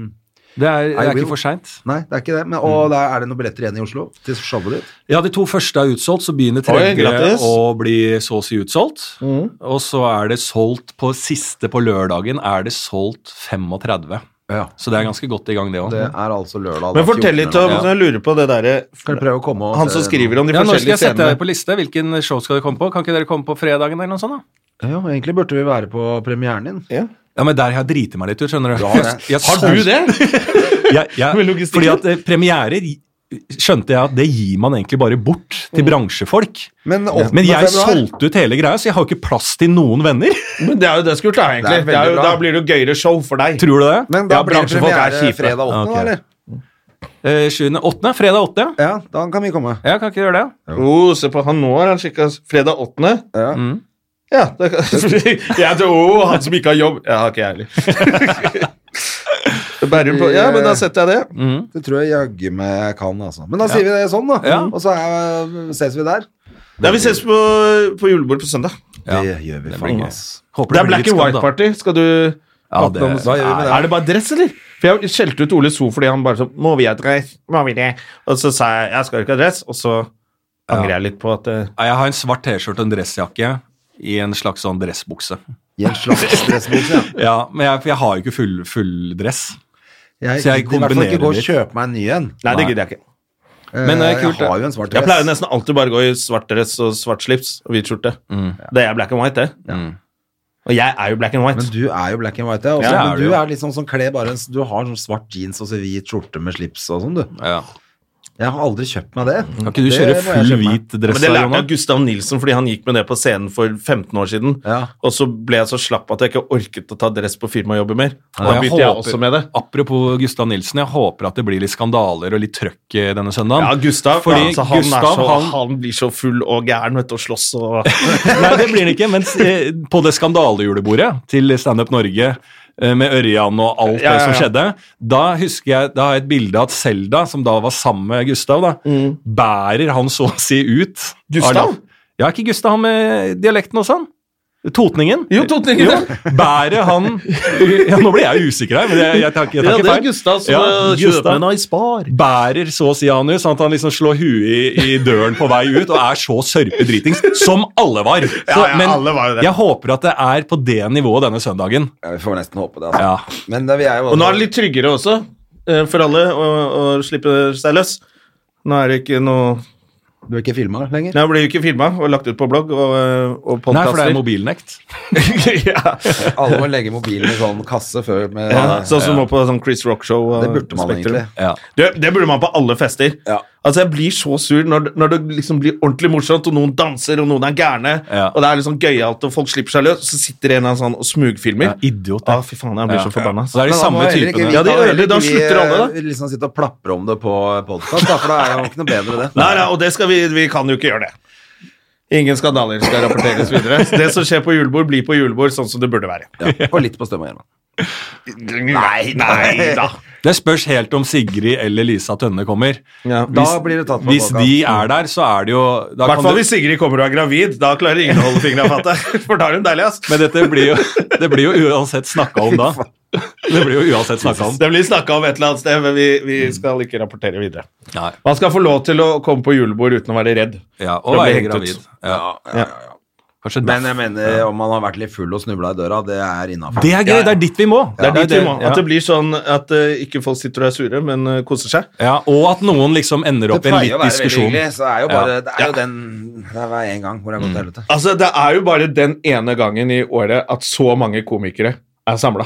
Det er, det
I
er
will.
ikke for seint.
Nei, det er ikke det. Men, og
Mm.
da er det noen billetter igjen i Oslo til showet ditt.
Ja, de to første er utsolgt, så begynner tredje
grattis.
å bli så å si utsolgt. Og så er det solgt på siste på lørdagen er det solgt 35.
Ja.
Så det er ganske godt i gang, det òg.
Det er altså lørdag.
Men
da,
fortell litt
14.
om
Ja.
Jeg lurer på det derre
Skal du prøve å komme og
Han
se
som
den?
skriver om de
Ja, nå skal
forskjellige
jeg sette deg
scenene.
på liste. Hvilken show skal dere komme på? Kan ikke dere komme på fredagen eller noe sånt? da?
Ja, egentlig burde vi være på premieren din.
Ja, men der har jeg driti meg litt ut, skjønner du.
det.
Jeg- jeg-
Har du det?
jeg,
Med
jeg,
logistikken.
fordi at eh, premierer skjønte jeg at det gir man egentlig bare bort
Mm.
til bransjefolk.
Men, åttende
Men jeg
februar-
solgte ut hele greia, så jeg har jo ikke plass til noen venner.
Men det er jo det jeg skulle ta, egentlig.
Det er veldig
Det er jo,
bra.
da blir det jo gøyere show for deg.
Tror du det?
Men da
Ja,
blir det
bransjefolk er
premiere
kjipe.
fredag 8,
Ok.
da, eller?
Eh, 7. 8. Fredag 8.
Ja, da kan vi komme.
Jeg kan ikke gjøre det.
Oh, se på han nå, har han sjekka fredag 8.
Ja.
Ja, det kan, jeg tror, oh, han som ikke har jobb Ja, har ikke jeg heller. Bærum på Ja, men da setter jeg det.
Det tror jeg jaggu meg jeg kan, altså. Men da sier vi det sånn, da.
Ja.
Og så er, ses vi der.
Ja, Vi ses på, på julebord på søndag.
Ja.
Det gjør vi faen, ass.
Håper
Det er
blir
black
litt
and
skam, da.
white party. Skal du
Ja, det,
Hva gjør vi med det?
Er det bare dress, eller? For Jeg skjelte ut Ole So fordi han bare sånn Må vi ha dress? Må vi det? Og så sa jeg jeg skal ikke ha dress, og så angrer jeg litt på at eh,
Ja, jeg har en svart T-skjorte og en dressjakke i en slags sånn dressbukse.
I en slags dressbukse, ja.
Ja, men jeg, for jeg har jo ikke full, full dress.
Jeg,
Så jeg
gidder i hvert fall ikke
kombinerer
gå og
litt.
kjøpe meg en ny en.
Nei, det gidder jeg ikke.
Men det er
Eh,
kult,
jeg
det.
har jo en svart
Jeg pleier
dress.
nesten alltid bare å gå i svart dress og svart slips og hvit skjorte. Det er black and white, det. Og jeg er jo black and white.
Men du er jo black and white, ja. Også,
Ja, det er
men
du
du
jo.
er litt sånn som kler bare en Du har sånn svart jeans og så hvit skjorte med slips og sånn, du.
Ja.
Jeg har aldri kjøpt meg det.
Kan ikke du
Det
kjøre
må jeg
full
kjøpe meg.
hvit dress
Men det
da,
lærte jeg av
Jonas?
Gustav Nilsen fordi han gikk med det på scenen for 15 år siden.
Ja.
Og så ble jeg så slapp at jeg ikke orket å ta dress på firmajobber mer. Og
Ja,
da
jeg
begynte jeg
håper-
også med det.
Apropos Gustav Nilsen, jeg håper at det blir litt skandaler og litt trøkk eh, denne søndagen.
Ja, Gustav,
Fordi
altså, han,
Gustav,
er så, han...
han-
blir så full og gæren vet, du, og slåss og
Nei, det blir det ikke, men eh, på det skandalejulebordet til Standup Norge eh, med Ørjan og alt
Ja, ja,
det som
ja.
skjedde, da husker jeg, da har jeg et bilde av at Selda, som da var sammen med Gustav, da, bærer han så å si ut.
Mm. Gustav?
Av- Ja, ikke Gustav, han med dialekten og sånn. Totningen.
Jo, Totningen,
Jo,
ja.
Bærer han ja, Nå blir jeg usikker her, men jeg, jeg tar ikke jeg tar ikke feil. Ja,
eh,
Gustav
Spar.
bærer så å si han ut, sånn at han liksom slår huet i, i døren på vei ut og er så sørpedritings som alle var. Så,
ja, alle var jo det.
jeg håper at det er på det nivået denne søndagen.
Ja, vi får nesten håpe det. Altså.
Ja.
Men det, vi er jo
Og nå er det litt tryggere også, eh, for alle, å, å slippe seg løs. Nå er det ikke noe
Du er ikke filma lenger?
Nei, det blir jo ikke filma og lagt ut på blogg og, eh, og
Nei, for det
podkaster.
er mobilnekt.
ja.
Alle må legge mobilen i sånn kasse før med,
Ja, sånn som nå på sånn Chris Rock-show. og
Det burde man
Spektrum.
egentlig.
Ja.
Det, det burde man på alle fester.
Ja.
Altså, Jeg blir så sur når, når det liksom blir ordentlig morsomt, og noen danser, og noen er gærne,
Ja.
og det er liksom gøyalt, og folk slipper seg løs, så sitter en av sånn og smugfilmer.
Ja, idiot,
Å,
ja.
fy faen, jeg blir
Ja.
så altså. forbanna.
Så det er de
Men da må
samme
heller ikke
typene.
vi-
Ja, de
da må heller
ødelegger, da
ikke vi,
slutter alle, da.
eh, Liksom sitte og plapre om det på podkast, for da er det jo ikke noe bedre, det.
Nei, nei, og det skal vi, vi kan jo ikke gjøre det. Ingen skandaler skal rapporteres videre. Så Det som skjer på julebord, blir på julebord sånn som det burde være.
Ja, og litt på Støm og Gjerman.
Nei, nei da.
Det spørs helt om Sigrid eller Lisa Tønne kommer.
Ja,
Hvis-
da blir det tatt på
Hvis
podcast.
de er der, så er det jo da
I hvert
kan
fall
du-
hvis Sigrid kommer og er gravid. Da klarer ingen å holde fingra av fattet. For da er hun deilig, ass.
Men dette blir jo, det blir jo uansett snakka om da. Det blir jo uansett snakka om.
Det blir snakka om et eller annet sted, men vi, vi skal ikke rapportere videre.
Nei,
Man skal få lov til å komme på julebord uten å være redd.
ja,
For
Og
å bli
være
hengt ut.
gravid. Ja.
ja,
Kanskje
Men
det.
jeg mener, om man har vært litt full og snubla i døra, det er innafor.
Det er gøy! Det er dit vi må.
Det er dit vi må.
ja.
At det blir sånn at eh, ikke folk sitter og er sure, men eh, koser seg.
Ja, og at noen liksom ender opp i en
pleier å være
litt
veldig
diskusjon.
hyggelig, så det er jo bare Det er
Ja.
jo den Det er hver en gang hvor det har gått til helvete.
Altså, Det er jo bare den ene gangen i året at så mange komikere er samla.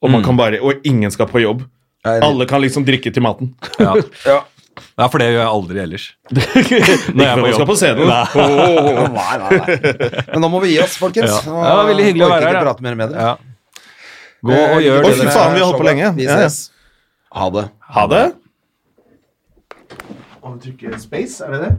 Og, man kan bare- og ingen skal på jobb.
Jeg er-
Alle kan liksom drikke til maten.
Ja.
Ja.
ja, for det gjør jeg aldri ellers.
Når
jeg er
skal
på jobb.
på scenen.
Åh, nei, nei, nei. Men nå må vi gi oss, folkens.
Ja.
Nå
Ja, det var veldig hyggelig å
orker
være
ikke
her, da.
prate mer med dere.
Ja. Gå og gjør
Oi,
det
fy
dere
faen, vi holdt på lenge.
Vi
Ja, ja.
ses. Ha det.
Ha det. Om du trykker space, er det det?